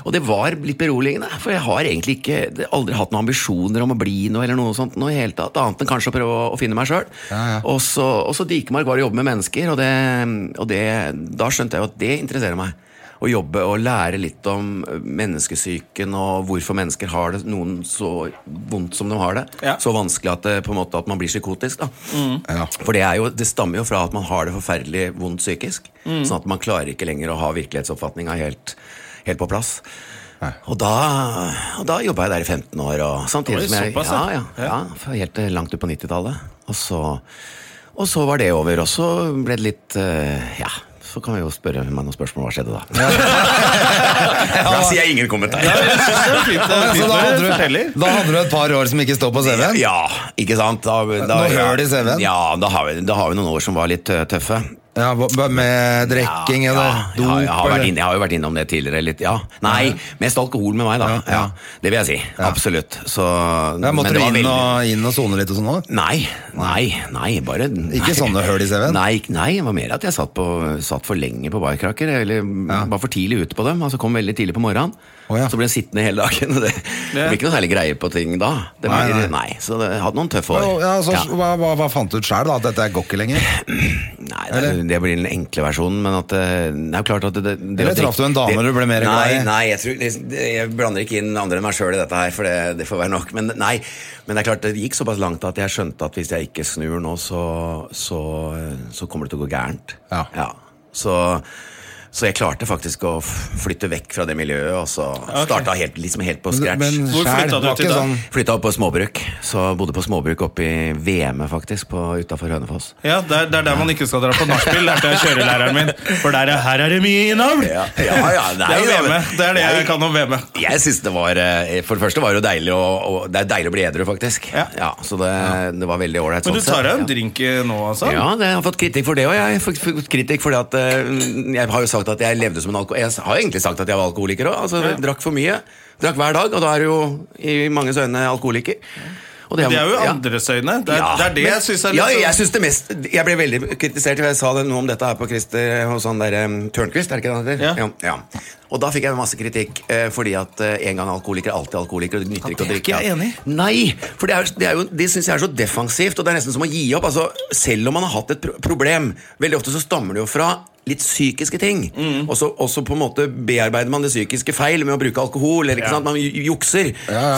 Speaker 3: og det var litt beroligende. For jeg har egentlig ikke aldri hatt noen ambisjoner om å bli noe eller noe sånt, noe i hele tatt, annet enn kanskje å prøve å, å finne meg sjøl.
Speaker 2: Ja, ja.
Speaker 3: Og så og så Dikemark var å jobbe med mennesker, og, det, og det, da skjønte jeg jo at det interesserer meg. Å jobbe og lære litt om menneskesyken og hvorfor mennesker har det noen så vondt som de har det.
Speaker 1: Ja.
Speaker 3: Så vanskelig at, det, på en måte, at man blir psykotisk. Da.
Speaker 2: Ja.
Speaker 3: For det, er jo, det stammer jo fra at man har det forferdelig vondt psykisk. Sånn at man klarer ikke lenger å ha virkelighetsoppfatninga helt, helt på plass. Og da, og da jobba jeg der i 15 år. Og samtidig
Speaker 1: Oi,
Speaker 3: som jeg,
Speaker 1: såpass,
Speaker 3: ja,
Speaker 1: ja.
Speaker 3: ja, ja, for Helt til langt ut på 90-tallet. Og, så- og så var det over. Og så ble det litt eh, Ja, så kan vi jo spørre meg noen spørsmål. Hva skjedde da? da sier jeg ingen kommentar.
Speaker 1: Det er fint, det er
Speaker 2: Så
Speaker 1: fint når
Speaker 2: altså, da
Speaker 1: du
Speaker 2: hadde,
Speaker 1: forteller.
Speaker 2: du, da hadde du et par år som ikke står på CV-en?
Speaker 3: Ja, ikke sant? Da, da,
Speaker 2: Noe høl i CV-en?
Speaker 3: Ja, da har, vi, da har vi noen år som var litt eh, tøffe.
Speaker 2: Ja, hva- hva med drikking
Speaker 3: ja,
Speaker 2: eller
Speaker 3: ja,
Speaker 2: dop?
Speaker 3: jeg, har
Speaker 2: eller?
Speaker 3: vært inn, jeg har jo vært innom det tidligere. Litt, ja. Nei, mest alkohol med meg, da.
Speaker 2: Ja,
Speaker 3: Ja,
Speaker 2: ja.
Speaker 3: det vil jeg si. Absolutt. Så,
Speaker 2: ja,
Speaker 3: men
Speaker 2: måtte
Speaker 3: det
Speaker 2: du
Speaker 3: var
Speaker 2: inn
Speaker 3: veldig-
Speaker 2: og, inn og sone litt og sånn òg?
Speaker 3: Nei, nei, nei, bare nei.
Speaker 2: Ikke sånne høl i CV-en?
Speaker 3: Nei, ikke- nei, det var mer at jeg satt, på, satt for lenge på barkrakker, eller var for tidlig ute på dem. Altså kom veldig tidlig på morgenen,
Speaker 2: Å, ja.
Speaker 3: så ble jeg sittende hele dagen. og Det, det blir ikke noe særlig greie på ting da. Det
Speaker 2: Nei,
Speaker 3: blir,
Speaker 2: nei.
Speaker 3: nei, Så det, jeg hadde noen tøffe år.
Speaker 2: Ja, så,
Speaker 3: Ja.
Speaker 2: Hva, hva, hva fant du ut sjæl, da? At dette går ikke lenger?
Speaker 3: Nei, det, er- det blir den enkle versjonen, men at eh, det er jo klart at det, det, det
Speaker 2: Eller
Speaker 3: å drikke-
Speaker 2: traff du en dame
Speaker 3: det-
Speaker 2: du ble mer glad i?
Speaker 3: Nei, nei jeg, tror, liksom, det- jeg blander ikke inn andre enn meg sjøl i dette her, for det, det får være nok. Men nei, men det er klart det gikk såpass langt at jeg skjønte at hvis jeg ikke snur nå, så, så, så kommer det til å gå gærent.
Speaker 2: Ja.
Speaker 3: Så, så jeg klarte faktisk å f- flytte vekk fra det miljøet, og så starta helt, liksom helt på scratch.
Speaker 2: Men
Speaker 1: Hvor
Speaker 2: sjæl,
Speaker 1: flytta
Speaker 2: det
Speaker 1: du
Speaker 2: var
Speaker 1: til
Speaker 2: ikke
Speaker 1: da?
Speaker 2: sånn
Speaker 3: Flytta opp på småbruk, så bodde på småbruk oppe i Veme, faktisk, utafor Hønefoss.
Speaker 1: Ja, det er, det er der man ikke skal dra på nachspiel, lærte jeg kjørelæreren min. For der er, her er det mye innavl!
Speaker 3: Ja, ja, ja, nei,
Speaker 1: det er
Speaker 3: da,
Speaker 1: VM.
Speaker 3: men-
Speaker 1: Det er det jeg
Speaker 3: Nei.
Speaker 1: kan om VM.
Speaker 3: Jeg synes det var eh, For det første var det jo deilig å, å, Det er deilig å bli edru, faktisk.
Speaker 1: Ja.
Speaker 3: Så det, det var veldig ålreit.
Speaker 1: Men du
Speaker 3: sånn
Speaker 1: tar
Speaker 3: sett.
Speaker 1: deg en drink eh, nå, altså?
Speaker 3: Ja, det, jeg har fått kritikk for det òg. Jeg har fått- fått kritikk fordi at eh, Jeg har jo sagt at jeg levde som en alko... Jeg har egentlig sagt at jeg var alkoholiker òg. Altså, jeg Drakk for mye. Drakk hver dag, og da er du jo i manges øyne alkoholiker. Og
Speaker 1: Det er jo
Speaker 3: ja.
Speaker 1: andres øyne. Det er
Speaker 3: Ja,
Speaker 1: det, er det
Speaker 3: men-
Speaker 1: jeg syns er
Speaker 3: ja, jeg
Speaker 1: litt sånn
Speaker 3: synes det mest Jeg ble veldig kritisert for Jeg sa det noe om dette her på Christer Hos han der um, Tørnquist, er det ikke det han
Speaker 1: Ja.
Speaker 3: heter? Ja. ja. Og da fikk jeg masse kritikk eh, Fordi at eh, en gang alkoholiker Alltid alkoholiker og Det nytter ikke å
Speaker 1: det er
Speaker 3: drikke
Speaker 1: ikke jeg
Speaker 3: ja.
Speaker 1: enig i.
Speaker 3: Nei, for det, er, det, er jo, det synes jeg er så defensivt Og det er nesten som å gi opp altså, Selv om man har hatt et pro problem Veldig ofte så stammer det jo fra Litt psykiske ting
Speaker 1: Mm.
Speaker 3: og, så, og så på en måte bearbeider man det psykiske feil Med å bruke alkohol eller, ikke sant? Man ju- jukser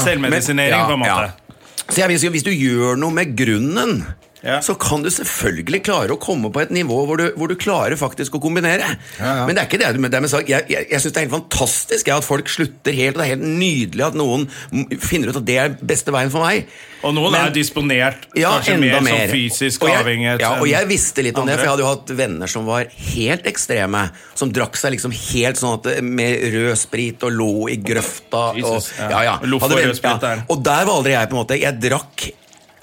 Speaker 1: Selvmedisinering,
Speaker 3: Men-
Speaker 1: på en måte.
Speaker 3: ja. Så jeg vil si, hvis du gjør noe med grunnen
Speaker 1: Ja.
Speaker 3: så kan du selvfølgelig klare å komme på et nivå hvor du, hvor du klarer faktisk å kombinere.
Speaker 2: ja.
Speaker 3: Men det er ikke det du med det med sak. Jeg, jeg, jeg syns det er helt fantastisk jeg, at folk slutter helt, og det er helt nydelig at noen m- finner ut at det er beste veien for meg.
Speaker 1: Og noen
Speaker 3: Men-
Speaker 1: er disponert
Speaker 3: Ja,
Speaker 1: kanskje
Speaker 3: enda
Speaker 1: mer,
Speaker 3: mer.
Speaker 1: som fysisk
Speaker 3: Og jeg-
Speaker 1: avhengighet.
Speaker 3: Ja, og
Speaker 1: enn
Speaker 3: jeg visste litt om det, for jeg hadde
Speaker 1: andre.
Speaker 3: jo hatt venner som var helt ekstreme. Som drakk seg liksom helt sånn at eh, med rød sprit og lå i grøfta. Og,
Speaker 1: Jesus, ja.
Speaker 3: ja, ja.
Speaker 1: Loff
Speaker 3: Hadde
Speaker 1: og
Speaker 3: venner-
Speaker 1: rød sprit
Speaker 3: ja.
Speaker 1: der.
Speaker 3: Og der var aldri jeg, på en måte. Jeg drakk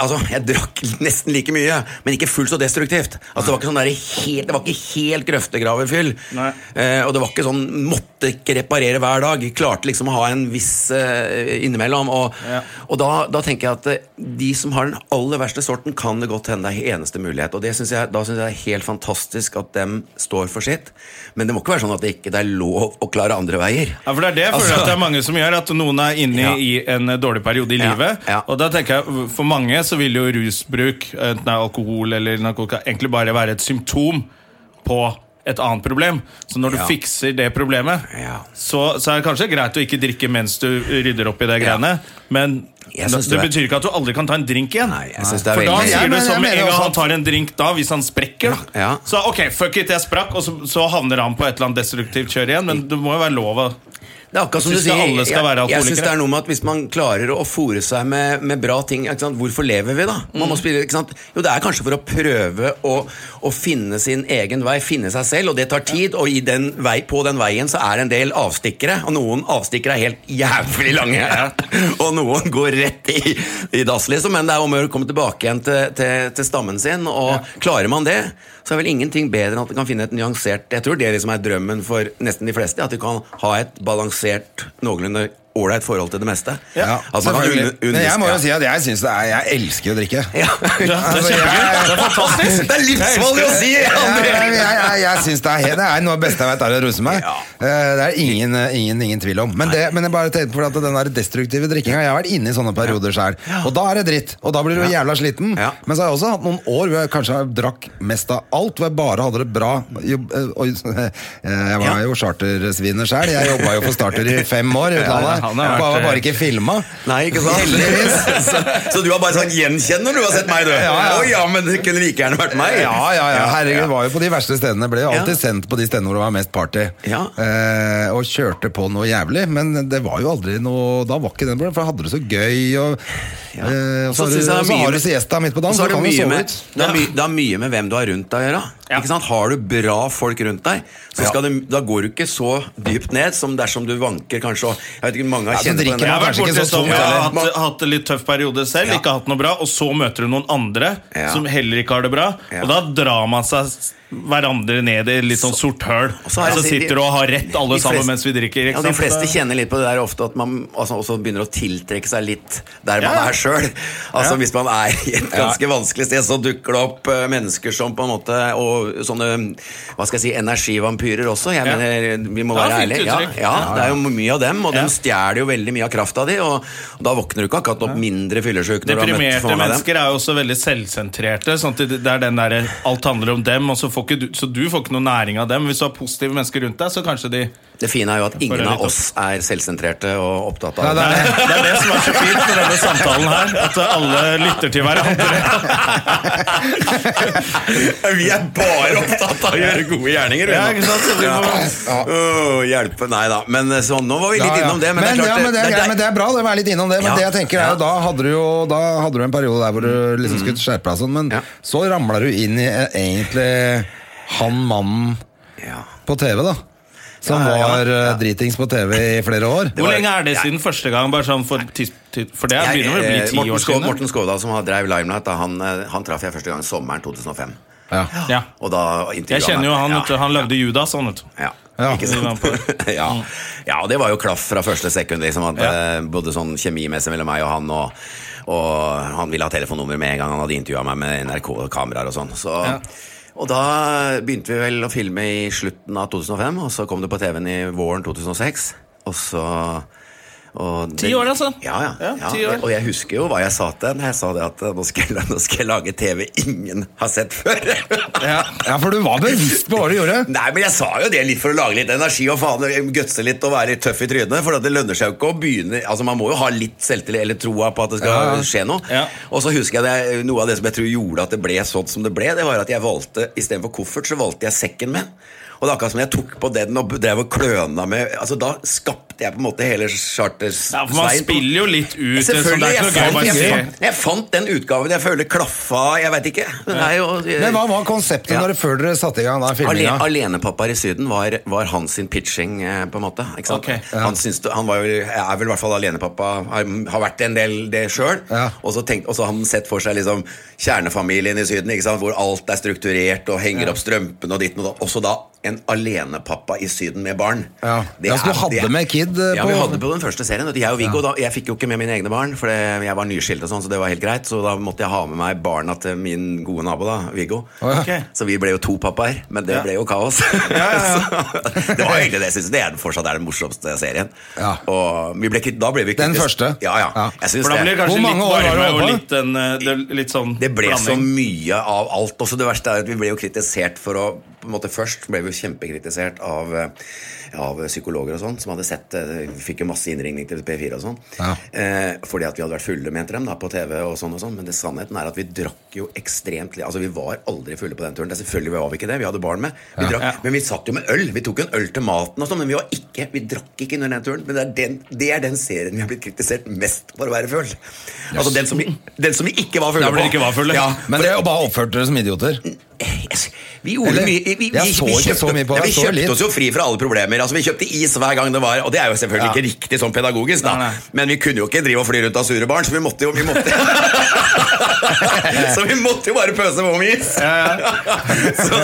Speaker 3: Altså, Jeg drakk nesten like mye, men ikke fullt så destruktivt. Altså, det, var ikke sånn der helt, det var ikke helt grøftegraverfyll.
Speaker 1: Nei.
Speaker 3: Eh, og det var ikke sånn måtte ikke reparere hver dag. Klarte liksom å ha en viss eh, innimellom. Og,
Speaker 1: Ja.
Speaker 3: og da, da tenker jeg at eh, de som har den aller verste sorten, kan det godt hende det er eneste mulighet. Og det synes jeg, da syns jeg det er helt fantastisk at dem står for sitt. Men det må ikke være sånn at det ikke det er lov å klare andre veier.
Speaker 1: Ja, for det er det jeg føler
Speaker 3: Altså-
Speaker 1: at det er mange som gjør, at noen er inne
Speaker 3: Ja.
Speaker 1: i en eh, dårlig periode i
Speaker 3: Ja,
Speaker 1: livet.
Speaker 3: ja.
Speaker 1: Og da tenker jeg, For mange så vil jo rusbruk, enten det er alkohol eller narkotika, egentlig bare være et symptom på et annet problem. Så når du
Speaker 3: Ja.
Speaker 1: fikser det problemet,
Speaker 3: Ja.
Speaker 1: så, så er det kanskje greit å ikke drikke mens du rydder opp i det
Speaker 3: Ja.
Speaker 1: greiene, men
Speaker 3: Jeg
Speaker 1: det,
Speaker 3: synes det er-
Speaker 1: betyr ikke at du aldri kan ta en drink igjen.
Speaker 3: Nei, jeg synes det er
Speaker 1: For da
Speaker 3: veldig-
Speaker 2: Ja,
Speaker 1: sier du
Speaker 2: men jeg
Speaker 1: som en
Speaker 2: mener
Speaker 1: gang
Speaker 2: også
Speaker 1: han
Speaker 2: at-
Speaker 1: tar en drink da, hvis han sprekker, da.
Speaker 3: Ja, ja.
Speaker 1: Så ok, fuck it, jeg sprakk, og så, så havner han på et eller annet destruktivt kjør igjen, men det må jo være lov å
Speaker 3: Det er akkurat som du
Speaker 1: Synes
Speaker 3: sier.
Speaker 1: det alle skal
Speaker 3: jeg,
Speaker 1: være
Speaker 3: jeg synes
Speaker 1: alkoholikere?
Speaker 3: det er noe med at Hvis man klarer å fòre seg med, med bra ting, ikke sant? hvorfor lever vi da? Man
Speaker 1: Mm.
Speaker 3: må spille, ikke sant? Jo, Det er kanskje for å prøve å, å finne sin egen vei, finne seg selv, og det tar tid. Og i den vei, på den veien så er det en del avstikkere, og noen avstikkere er helt jævlig lange. og noen går rett i, i dass, liksom. Men det er om å gjøre å komme tilbake igjen til, til, til stammen sin, og klarer man det, så er vel ingenting bedre enn at du kan finne et nyansert Jeg tror det liksom er drømmen for nesten de fleste. At du kan ha et balansert, noenlunde ålreit forhold til det meste.
Speaker 2: Ja,
Speaker 3: altså, man kan
Speaker 2: selvfølgelig.
Speaker 3: unn- unn-
Speaker 2: Men jeg må jo
Speaker 3: ja.
Speaker 2: si at jeg syns det er Jeg elsker å drikke.
Speaker 3: ja.
Speaker 1: Ja, det er
Speaker 2: Altså, jeg-
Speaker 1: kjempegøy. Det er fantastisk.
Speaker 3: Det er livsfarlig å si!
Speaker 2: Jeg,
Speaker 3: André.
Speaker 2: jeg, jeg, jeg syns det er helt- Det er noe av det beste jeg vet, er å rose meg.
Speaker 3: Ja.
Speaker 2: Eh, Det er ingen, ingen, ingen tvil om. Men, det, men jeg bare tenkte på at den der destruktive drikkinga Jeg har vært inne i sånne perioder sjøl. Og da er det dritt. Og da blir du jævla sliten.
Speaker 3: Ja.
Speaker 2: Men så har jeg også hatt noen år hvor jeg kanskje har drakk mest av alt, hvor jeg bare hadde det bra. Jobb- eh, og- Jeg var jo chartersviner sjøl. Jeg jobba jo for Starter i fem år i utlandet.
Speaker 1: han
Speaker 2: Jeg
Speaker 1: har vært-
Speaker 2: var bare ikke filma.
Speaker 3: Nei, ikke sant?
Speaker 2: Heldigvis.
Speaker 3: så, så du har bare sånn gjenkjenner når du har sett meg, du? Å ja,
Speaker 2: ja.
Speaker 3: men det kunne like gjerne vært meg.
Speaker 2: Ja, ja, ja. Herregud, var jo på de verste stedene. Ble jo alltid
Speaker 3: Ja.
Speaker 2: sendt på de stedene hvor det var mest party.
Speaker 3: Ja.
Speaker 2: Eh, og kjørte på noe jævlig, men det var jo aldri noe Da var ikke den problemet, for jeg hadde det så gøy. Og,
Speaker 3: Ja.
Speaker 2: eh, og
Speaker 3: Så
Speaker 2: så, har du-
Speaker 3: synes jeg det er
Speaker 2: og så
Speaker 3: mye
Speaker 2: har du
Speaker 3: med-
Speaker 2: siesta midt på dagen,
Speaker 3: Og
Speaker 2: så,
Speaker 3: så er det
Speaker 2: kan du
Speaker 3: mye
Speaker 2: sove
Speaker 3: med,
Speaker 2: ut.
Speaker 3: det, er my, det er mye med hvem du har rundt deg å gjøre.
Speaker 1: Ja.
Speaker 3: Ikke sant? Har du bra folk rundt deg, så skal du, da går du ikke så dypt ned som dersom du vanker kanskje og Jeg vet ikke, mange
Speaker 2: Ja,
Speaker 3: har
Speaker 2: så
Speaker 3: kjent på
Speaker 2: drikker
Speaker 3: den
Speaker 1: Jeg
Speaker 2: man
Speaker 1: har
Speaker 3: der.
Speaker 1: vært
Speaker 2: kanskje ikke
Speaker 1: borti
Speaker 2: så
Speaker 1: sånn
Speaker 2: tungt,
Speaker 1: Jeg har
Speaker 3: eller?
Speaker 1: hatt, hatt det litt tøff periode selv,
Speaker 3: Ja.
Speaker 1: ikke hatt noe bra, og så møter du noen andre
Speaker 3: Ja.
Speaker 1: som heller ikke har det bra,
Speaker 3: Ja.
Speaker 1: og da drar man seg s- hverandre ned i et litt sånn sort høl.
Speaker 3: Og
Speaker 1: Så,
Speaker 3: har jeg-
Speaker 1: sitter du og har rett alle
Speaker 3: de fleste-
Speaker 1: sammen mens vi drikker. ikke
Speaker 3: Ja, De
Speaker 1: sant?
Speaker 3: fleste kjenner litt på det der ofte at man altså, også begynner å tiltrekke seg litt der man
Speaker 1: Ja.
Speaker 3: er sjøl. Altså,
Speaker 1: Ja.
Speaker 3: Hvis man er i et ganske vanskelig sted, så dukker det opp eh, mennesker som på en måte Og sånne hva skal jeg si, energivampyrer også. Jeg
Speaker 1: Ja.
Speaker 3: mener, Vi må
Speaker 1: Ja,
Speaker 3: være
Speaker 1: fint
Speaker 3: ærlige. Ja,
Speaker 1: uttrykk.
Speaker 3: ja, det er jo mye av dem, og
Speaker 1: Ja.
Speaker 3: de stjeler jo veldig mye av krafta di. Og og da våkner du ikke akkurat opp mindre fyllesyk når du har møtt for mange
Speaker 1: Deprimerte
Speaker 3: av dem.
Speaker 1: mennesker er jo også veldig selvsentrerte. Sånn at det det er den der, alt handler om dem, og så, får ikke du, så du får ikke noe næring av dem. Hvis du har positive mennesker rundt deg, så kanskje de
Speaker 3: Det fine er jo at ingen
Speaker 1: litt
Speaker 3: av
Speaker 1: opp.
Speaker 3: oss er selvsentrerte og opptatt av
Speaker 2: Nei,
Speaker 1: det er, det er det som er så fint med denne samtalen her, at alle lytter til hverandre.
Speaker 3: Vi er bare opptatt av å gjøre gode gjerninger. vi
Speaker 1: Ja,
Speaker 3: nå.
Speaker 1: ikke sant? Så vi må-
Speaker 3: Ja. Åh, hjelpe, nei da. Men eh, sånn, nå var vi litt
Speaker 2: Ja, ja.
Speaker 3: innom det. Men, det er
Speaker 2: ja,
Speaker 3: klart
Speaker 2: men det, er, greit, men det er bra det å være litt innom det. Men
Speaker 3: Ja. Mm.
Speaker 2: det jeg tenker er jo da hadde du jo da hadde du en periode der hvor du liksom skulle skjerpe deg og sånn, men
Speaker 3: Ja.
Speaker 2: så ramla du inn i eh, egentlig han mannen
Speaker 3: Ja.
Speaker 2: på TV, da. Som
Speaker 3: Ja, ja, ja.
Speaker 2: var eh, dritings på TV i flere år.
Speaker 1: Hvor
Speaker 3: var-
Speaker 1: lenge er det
Speaker 3: Nei.
Speaker 1: siden første gang? Bare sånn for, tids- tid- for det er-
Speaker 3: Jeg,
Speaker 1: begynner vel å bli
Speaker 3: eh,
Speaker 1: ti
Speaker 3: Morten,
Speaker 1: år
Speaker 3: Skov,
Speaker 1: siden? da.
Speaker 3: Morten Skovdal, som har drev Limelight, da, han, eh, han traff jeg første gang sommeren 2005.
Speaker 2: Ja.
Speaker 1: Ja.
Speaker 3: Og da
Speaker 1: Jeg
Speaker 3: intervjuet
Speaker 1: kjenner jo han,
Speaker 3: ja,
Speaker 1: vet du. Han lagde Judas, han, vet du.
Speaker 3: Ja.
Speaker 2: Ja.
Speaker 3: Ikke
Speaker 1: Vi var
Speaker 3: sant?
Speaker 1: på
Speaker 3: ja. ja, det var jo klaff fra første sekund. Liksom, at,
Speaker 1: Ja.
Speaker 3: eh, både sånn kjemimessig mellom meg og han, og, og han ville ha telefonnummer med en gang han hadde intervjua meg med NRK-kameraer og sånn. Så, Og da begynte vi vel å filme i slutten av 2005, og så kom det på TV-en i våren 2006. Og så og det-
Speaker 1: Ti år, altså.
Speaker 3: Ja, ja.
Speaker 1: Ja,
Speaker 3: ja,
Speaker 1: ti år.
Speaker 3: Og jeg husker jo hva jeg sa til henne. Jeg sa det at eh, nå skal jeg, nå skal jeg lage TV ingen har sett før.
Speaker 1: Ja.
Speaker 2: Ja, for du var bevisst på hva du gjorde.
Speaker 3: Nei, men jeg sa jo det litt for å lage litt energi og faen gutse litt og være litt tøff i trynet. For at det lønner seg jo ikke å begynne Altså Man må jo ha litt selvtillit eller troa på at det skal
Speaker 2: Ja, ja.
Speaker 3: skje noe.
Speaker 1: Ja.
Speaker 3: Og så husker jeg det, noe av det som jeg tror gjorde at det ble sånn som det ble, det var at jeg valgte istedenfor koffert, så valgte jeg sekken min. Og det er akkurat som jeg tok på den og drev og kløna med Altså Da skapte jeg på en måte hele chartersveien.
Speaker 1: Ja, for man spiller jo litt ut. sånn,
Speaker 3: Selvfølgelig.
Speaker 1: det er
Speaker 3: Jeg
Speaker 1: ikke noe
Speaker 3: fant,
Speaker 1: gøy å
Speaker 3: jeg,
Speaker 1: bare si.
Speaker 3: fant, jeg fant den utgaven jeg føler klaffa Jeg veit ikke. Men det er jo
Speaker 2: Men hva var konseptet
Speaker 3: Ja.
Speaker 2: når, før dere satte i gang den
Speaker 3: Alene,
Speaker 2: filminga?
Speaker 3: alenepappaer i Syden var, var hans sin pitching, eh, på en måte. Ikke sant?
Speaker 1: Ok, ja.
Speaker 3: Han, syns, han var jo, er vel i hvert fall alenepappa, har, har vært en del det sjøl.
Speaker 2: Ja.
Speaker 3: Og så tenkt- og så har han sett for seg liksom, kjernefamilien i Syden, ikke sant? hvor alt er strukturert og henger opp strømpene og ditten og datt. Også da en alenepappa i Syden med barn.
Speaker 2: Ja. Ja, så du hadde med kid, eh,
Speaker 3: Ja,
Speaker 2: på-
Speaker 3: vi hadde på den første serien. vet du. Jeg og Viggo, da, jeg fikk jo ikke med mine egne barn, for det- jeg var nyskilt og sånn, så det var helt greit. Så da måtte jeg ha med meg barna til min gode nabo, da, Viggo.
Speaker 2: Å,
Speaker 1: ja. Ok.
Speaker 3: Så vi ble jo to pappaer, men det
Speaker 1: Ja.
Speaker 3: ble jo kaos.
Speaker 1: ja,
Speaker 3: Så det var egentlig det jeg synes det er den fortsatt er den morsomste serien.
Speaker 2: Ja.
Speaker 3: Og vi ble, kvitt- da ble vi
Speaker 2: Den
Speaker 3: kvitt-
Speaker 2: første?
Speaker 3: Ja, ja.
Speaker 2: Ja.
Speaker 3: Jeg synes
Speaker 1: For da blir det
Speaker 3: det.
Speaker 2: Hvor
Speaker 1: kanskje litt
Speaker 2: mange år var det
Speaker 1: varme og
Speaker 2: oppe?
Speaker 1: litt, den, eh, det, er litt sånn
Speaker 3: Det ble så
Speaker 1: blanding.
Speaker 3: mye av alt. Også det verste er at vi ble jo kritisert for å på en måte Først ble vi jo kjempekritisert av, eh, av psykologer og sånn, som hadde sett eh, Vi fikk jo masse innringning til P4 og sånn.
Speaker 2: Ja.
Speaker 3: Eh, fordi at vi hadde vært fulle, mente dem, da, på TV og sånn og sånn. Men det sannheten er at vi drakk jo ekstremt li- Altså, vi var aldri fulle på den turen. Det er selvfølgelig var vi ikke det. Vi hadde barn med. Vi drakk,
Speaker 1: Ja.
Speaker 3: Men vi satt jo med øl. Vi tok en øl til maten og sånn, men vi var ikke Vi drakk ikke under den turen. Men det er den, det er den serien vi har blitt kritisert mest for å være full. Altså den som vi, den som vi ikke var fulle
Speaker 1: Da ble
Speaker 3: på.
Speaker 1: dere ikke var fulle.
Speaker 3: Ja,
Speaker 2: Men dere bare oppførte dere som idioter.
Speaker 3: Yes. Vi gjorde
Speaker 2: Eller,
Speaker 3: mye vi, vi,
Speaker 2: jeg så
Speaker 3: vi
Speaker 2: ikke så mye på
Speaker 3: ja,
Speaker 2: det,
Speaker 3: Vi
Speaker 2: jeg så litt.
Speaker 3: kjøpte oss jo fri fra alle problemer. Altså, vi kjøpte is hver gang det var, og det er jo selvfølgelig
Speaker 2: Ja.
Speaker 3: ikke riktig sånn pedagogisk, da.
Speaker 1: Nei, nei.
Speaker 3: men vi kunne jo ikke drive og fly rundt av sure barn, så vi måtte jo vi måtte. Så vi måtte jo bare pøse på med is! så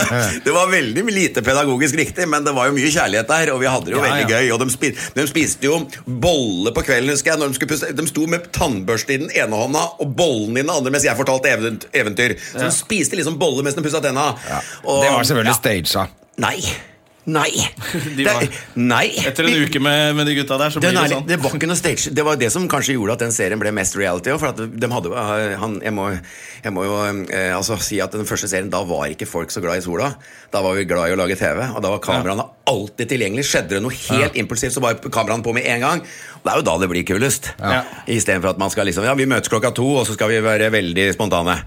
Speaker 3: det var veldig lite pedagogisk riktig, men det var jo mye kjærlighet der, og vi hadde det jo
Speaker 1: Ja,
Speaker 3: veldig
Speaker 1: ja.
Speaker 3: gøy. Og de, spi de spiste jo bolle på kvelden, husker jeg. Når de, skulle pusse. de sto med tannbørste i den ene hånda og bollen i den andre mens jeg fortalte even- eventyr. Så de spiste liksom bolle mens de pussa tenna. Og-
Speaker 2: Det var selvfølgelig
Speaker 3: ja.
Speaker 2: staged.
Speaker 3: Nei. Nei.
Speaker 1: De
Speaker 3: Det-
Speaker 1: var-
Speaker 3: Nei.
Speaker 1: Etter en
Speaker 3: Vi-
Speaker 1: uke med, med de gutta der, så blir
Speaker 3: den
Speaker 1: det
Speaker 3: er,
Speaker 1: sånn.
Speaker 3: det var ikke noe stage Det var det som kanskje gjorde at den serien ble mest reality også, For at de hadde eh, han, jeg, må, jeg må jo eh, altså, si at den første serien Da var ikke folk så glad i sola Da var vi glad i å lage TV Og da var kameraene alltid tilgjengelig Skjedde det noe helt impulsivt Så var kameraene på med en gang Og det er jo da det blir kulest
Speaker 1: Ja.
Speaker 3: I stedet for at man skal liksom Ja, vi møtes klokka to Og så skal vi være veldig spontane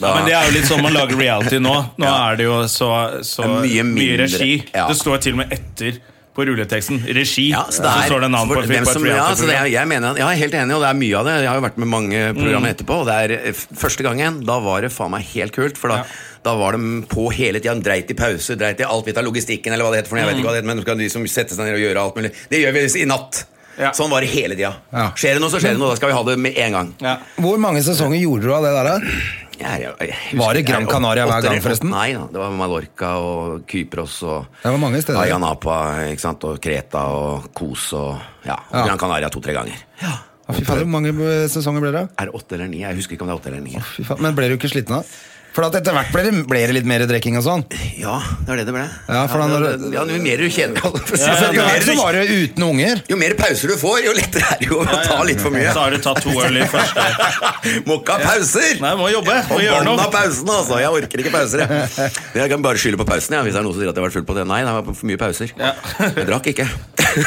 Speaker 3: da,
Speaker 1: Men det er jo litt sånn man lager reality nå. Nå
Speaker 3: Ja.
Speaker 1: er det jo så, så
Speaker 3: Det er mye
Speaker 1: mye,
Speaker 3: mindre,
Speaker 1: regi.
Speaker 3: ja.
Speaker 1: Det står til og med etter på rulleteksten. Regi.
Speaker 3: Ja,
Speaker 1: så, står det navn på,
Speaker 3: for
Speaker 1: et-
Speaker 3: hvem
Speaker 1: på et
Speaker 3: som- ja, så det er,
Speaker 1: reality-program.
Speaker 3: jeg, mener, jeg er helt enig, og det er mye av det. Jeg har jo vært med mange program
Speaker 1: Mm.
Speaker 3: etterpå. Og det er eh, f- Første gangen da var det faen meg helt kult. For da,
Speaker 1: Ja.
Speaker 3: da var de på hele tida. De dreit i pause, dreit i alt. Vi tar logistikken, eller hva det heter. for noe, jeg vet ikke hva det heter, Men de skal de som setter seg ned og gjøre alt mulig. Det gjør vi i natt.
Speaker 1: Ja.
Speaker 3: Sånn var det hele tida.
Speaker 2: Ja.
Speaker 3: Skjer det noe, så skjer det noe. Da skal vi ha det med en gang.
Speaker 1: Ja.
Speaker 2: Hvor mange sesonger gjorde du av det der? da?
Speaker 3: Jeg er- jeg husker-
Speaker 2: Var det Gran
Speaker 3: jeg er åt-
Speaker 2: Canaria hver
Speaker 3: åtte-
Speaker 2: gang, forresten?
Speaker 3: Nei da. Det var Mallorca og Kypros og
Speaker 2: Det var mange steder.
Speaker 3: Ayia Napa, ikke sant? og Kreta og Kos og ja,
Speaker 2: Ja.
Speaker 3: Gran Canaria to-tre ganger.
Speaker 2: Ja, fy faen, Hvor mange eh, sesonger ble det?
Speaker 3: Er det åtte eller ni? Jeg husker ikke om det er åtte eller ni.
Speaker 2: Fy faen, Men ble du ikke sliten av? For at etter hvert ble det, ble det litt mer drikking og sånn.
Speaker 3: Ja, det var det det ble.
Speaker 2: Ja, for da
Speaker 3: det-
Speaker 2: når-
Speaker 3: det- ja, Jo mer du kjenner for å si det
Speaker 2: Altså,
Speaker 3: sånn,
Speaker 2: etter
Speaker 3: jo, mer
Speaker 2: hvert så
Speaker 3: du-
Speaker 2: var det uten unger.
Speaker 3: jo mer pauser du får, jo lettere er det jo å ta litt for
Speaker 1: Så
Speaker 3: mye.
Speaker 1: har du tatt to øl i første
Speaker 3: Må ikke ha pauser!
Speaker 1: Nei, må jobbe. Må
Speaker 3: Og
Speaker 1: gjøre
Speaker 3: bånd
Speaker 1: noe.
Speaker 3: av pausen, altså. Jeg orker ikke pauser. Jeg, jeg kan bare skylde på pausen jeg, hvis det er noen som sier at jeg har vært full på det. Nei, det var for mye pauser.
Speaker 1: Ja.
Speaker 3: Jeg drakk ikke.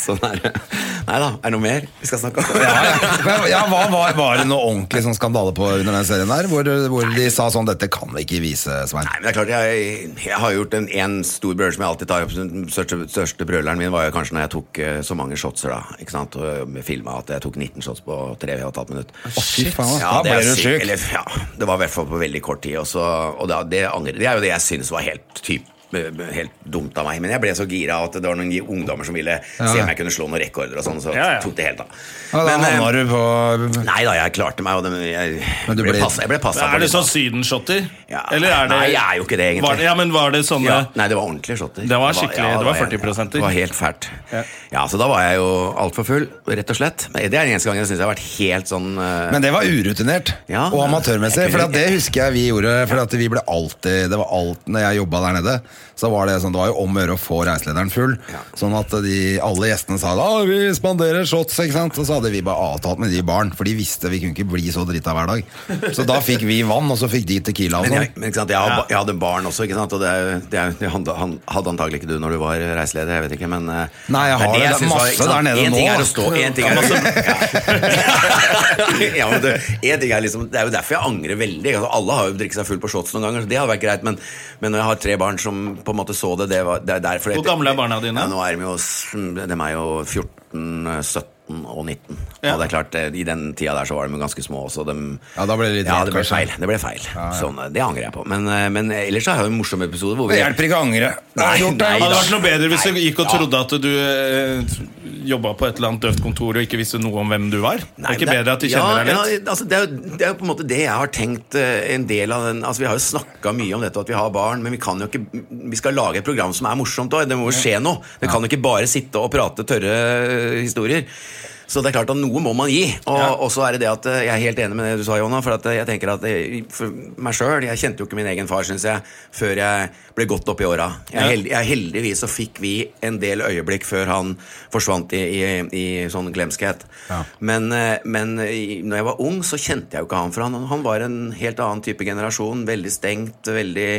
Speaker 3: Sånn er det. Nei da. Er det noe mer vi skal snakke om?
Speaker 2: Ja, ja. Men, ja, hva var, var det noe ordentlig sånn skandale på under den serien der? Hvor, hvor de sa sånn 'Dette kan vi ikke vise, Svein'.
Speaker 3: Nei, men det er klart, jeg, jeg har gjort en, en stor brøler som jeg alltid tar opp. Den største, største brøleren min var jo kanskje når jeg tok eh, så mange shotser, da. Ikke sant? Og eh, med filma at jeg tok 19 shots på 3 og et halvt minutt.
Speaker 2: Å, fy faen,
Speaker 3: Ja,
Speaker 2: da
Speaker 3: det
Speaker 2: ble
Speaker 3: er
Speaker 2: du
Speaker 3: sykt.
Speaker 2: sjuk.
Speaker 3: Eller, ja, det var i hvert fall på veldig kort tid. Og, så, og da, det, angrer, det er jo det jeg syns var helt typ eh, Helt dumt av meg, men jeg ble så gira at det var noen ungdommer som ville se om jeg kunne slå noen rekorder. og sånn, Så
Speaker 1: Ja, ja.
Speaker 3: tok det helt av.
Speaker 2: Ja, da
Speaker 3: eh,
Speaker 2: havna du på
Speaker 3: Nei da, jeg klarte meg. Og det, jeg,
Speaker 2: Men du
Speaker 3: ble
Speaker 2: ble-
Speaker 3: passet- jeg ble passa
Speaker 1: Er det sånn sydenshotter?
Speaker 3: Ja.
Speaker 1: Eller er det
Speaker 3: Nei, jeg er jo ikke det, egentlig.
Speaker 1: Var, ja, men var det sånne
Speaker 3: Ja, nei, det var ordentlige shotter.
Speaker 1: Det var skikkelig- det var
Speaker 3: jeg-
Speaker 1: 40%.
Speaker 3: Det var helt fælt.
Speaker 1: Ja.
Speaker 3: Ja. så da var jeg jo altfor full, rett og slett. Men Det er den eneste gangen jeg syns jeg har vært helt sånn eh,
Speaker 2: Men det var urutinert
Speaker 3: Ja,
Speaker 2: og
Speaker 3: ja.
Speaker 2: amatørmessig.
Speaker 3: Jeg
Speaker 2: For
Speaker 3: kunne-
Speaker 2: at det husker jeg vi gjorde. For at vi ble alltid Det var alt når jeg jobba der nede. så var det sånn, det var jo om å gjøre å få reiselederen full. Sånn at de, alle gjestene sa da, vi spanderer shots, ikke sant? Og så hadde vi bare avtalt med de i baren, for de visste vi kunne ikke bli så drita hver dag. Så da fikk vi vann, og så fikk de tequila og
Speaker 3: Men,
Speaker 2: sånn.
Speaker 3: jeg, men ikke sant? Jeg, har, ba- jeg hadde barn også, ikke sant? og det, er jo- det, er jo- det han, han hadde antagelig ikke du når du var reiseleder. jeg vet ikke, men... eh,
Speaker 2: Nei, jeg har det. Det er
Speaker 3: synes var-
Speaker 2: masse
Speaker 3: ikke sant?
Speaker 2: der nede
Speaker 3: en
Speaker 2: nå,
Speaker 3: Ting er
Speaker 2: da.
Speaker 3: å stå, en ting er, ja. ja, men du, en ting er liksom, det er jo derfor jeg angrer veldig. Altså, alle har jo drikket seg full på shots noen ganger, så det har vært greit. Men, men når jeg har tre barn som på en måte så det, det, var, det er derfor...
Speaker 1: Hvor gamle er barna dine?
Speaker 3: Ja, nå er de jo, s- de er jo 14, 17 og 19.
Speaker 1: Ja.
Speaker 3: Og det er klart, eh, i den tida der så var de jo ganske små også. De,
Speaker 2: Ja, da ble det litt
Speaker 3: ja,
Speaker 2: rart,
Speaker 3: det ble
Speaker 2: kanskje.
Speaker 3: feil. Det ble feil. Sånn, det angrer jeg på. Men, eh, men ellers så har jeg en morsom episode hvor vi
Speaker 2: Det hjelper ikke å angre.
Speaker 3: Nei, nei,
Speaker 1: Hadde
Speaker 3: da.
Speaker 1: vært noe bedre hvis du
Speaker 3: Nei,
Speaker 1: gikk og
Speaker 3: ja.
Speaker 1: trodde at du eh, jobba på et eller annet døvt kontor og ikke visste noe om hvem du var.
Speaker 3: Nei,
Speaker 1: er
Speaker 3: men
Speaker 1: ikke
Speaker 3: det-
Speaker 1: bedre at de kjenner
Speaker 3: ja,
Speaker 1: deg litt?
Speaker 3: Ja, altså, det, er, jo- det er jo på en måte det jeg har tenkt eh, en del av den Altså Vi har jo snakka mye om dette at vi har barn, men vi kan jo ikke Vi skal lage et program som er morsomt òg. Det må jo skje noe. Det kan jo ikke bare sitte og prate tørre eh, historier. Så det er klart at noe må man gi. Og, og så er det det at eh, jeg er helt enig med det du sa, Jonna. For at eh, jeg tenker at eh, for meg sjøl Jeg kjente jo ikke min egen far, syns jeg, før jeg ble godt opp i åra. Jeg er
Speaker 1: Ja.
Speaker 3: held- jeg er Heldigvis så fikk vi en del øyeblikk før han forsvant i, i, i sånn glemskhet. Men, eh, men i- når jeg var ung, så kjente jeg jo ikke han, for han, han var en helt annen type generasjon. Veldig stengt, veldig,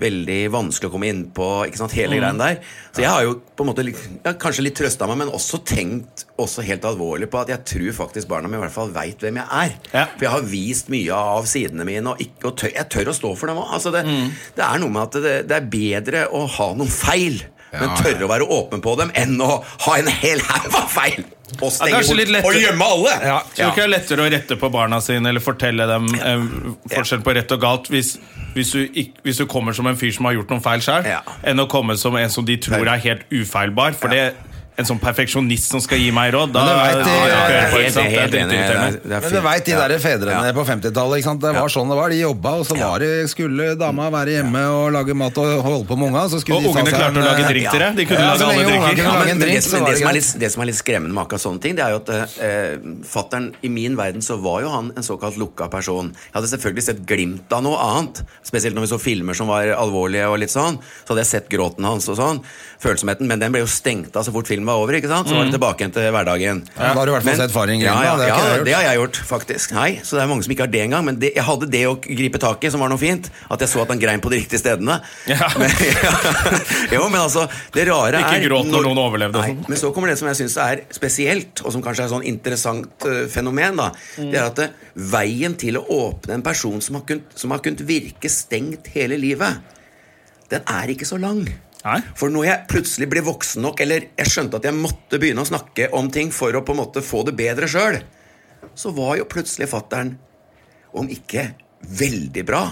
Speaker 3: veldig vanskelig å komme innpå, ikke sant, hele greien der. Så jeg har jo på en måte litt, jeg har kanskje litt trøsta meg, men også tenkt også helt alvorlig på at jeg tror faktisk barna mine i hvert fall veit hvem jeg er.
Speaker 1: Ja.
Speaker 3: For jeg har vist mye av sidene mine, og, ikke, og tør, jeg tør å stå for dem òg. Altså det, det er noe med at det, det er bedre å ha noen feil, men
Speaker 2: Ja,
Speaker 3: tørre å være åpen på dem, enn å ha en hel haug av feil og
Speaker 1: Ja,
Speaker 3: stenge
Speaker 1: kanskje litt
Speaker 3: bort
Speaker 1: lettere.
Speaker 3: og gjemme alle.
Speaker 1: Ja, tror du ikke det er lettere å rette på barna sine eller fortelle dem eh, forskjell på rett og galt hvis, hvis, du ikk, hvis du kommer som en fyr som har gjort noen feil sjøl,
Speaker 3: Ja.
Speaker 1: enn å komme som en som de tror er helt ufeilbar? For det en sånn perfeksjonist som skal gi meg råd, da
Speaker 2: Men det vet de-
Speaker 1: Ja, ja,
Speaker 2: jeg
Speaker 3: er
Speaker 2: er
Speaker 1: ikke
Speaker 3: helt-
Speaker 1: sant? Det er
Speaker 3: helt enig, det er-
Speaker 1: dritirriterende.
Speaker 3: det er
Speaker 2: Men du
Speaker 3: fint.
Speaker 2: veit de
Speaker 3: Ja.
Speaker 2: der fedrene
Speaker 3: Ja.
Speaker 2: på 50-tallet. ikke sant? Det var sånn det var. De jobba, og så var det, skulle dama være hjemme og lage mat og holde på med unga. Så skulle
Speaker 1: Og
Speaker 2: de ta
Speaker 1: ungene
Speaker 2: seg
Speaker 1: klarte å
Speaker 2: en,
Speaker 1: lage
Speaker 2: eh,
Speaker 1: drink til deg. De kunne
Speaker 2: Ja,
Speaker 1: lage
Speaker 2: så lenge
Speaker 1: alle
Speaker 2: ungene
Speaker 1: drikker.
Speaker 2: kunne
Speaker 3: Ja, men
Speaker 2: lage en
Speaker 3: men det,
Speaker 2: drink, så
Speaker 3: som,
Speaker 2: var
Speaker 3: det,
Speaker 2: det
Speaker 3: som er
Speaker 2: greit.
Speaker 3: litt, det som er litt skremmende med akkurat sånne ting, det er jo at eh, fatteren i min verden så var jo han en såkalt lukka person. Jeg hadde selvfølgelig sett glimt av noe annet, spesielt når vi så filmer som var alvorlige og litt sånn. Så hadde jeg sett gråten hans og sånn, følsomheten, men den ble jo stengt av så fort filmen var over, ikke sant? Så var det
Speaker 1: Mm.
Speaker 3: tilbake igjen til hverdagen.
Speaker 2: Ja, da har du i hvert fall
Speaker 3: Men-
Speaker 2: sett faren din
Speaker 3: Ja,
Speaker 2: grine,
Speaker 3: ja,
Speaker 2: da.
Speaker 3: ja,
Speaker 2: Det har ikke jeg gjort.
Speaker 3: det har jeg gjort, faktisk. Nei, så det er mange som ikke har det engang, men det, jeg hadde det å gripe tak i, som var noe fint, at jeg så at han grein på de riktige stedene.
Speaker 1: Ja.
Speaker 3: Men, Jo, men altså, det rare
Speaker 1: Ikke
Speaker 3: er
Speaker 1: gråt når noen overlevde og
Speaker 3: Nei,
Speaker 1: sånn.
Speaker 3: Men så kommer det som jeg syns er spesielt, og som kanskje er et sånn interessant eh, fenomen. da Det er at eh, veien til å åpne en person som har, kunnet, som har kunnet virke stengt hele livet, den er ikke så lang.
Speaker 1: Nei.
Speaker 3: For når jeg plutselig ble voksen nok, eller jeg skjønte at jeg måtte begynne å snakke om ting for å på en måte få det bedre sjøl, så var jo plutselig fattern, om ikke veldig bra,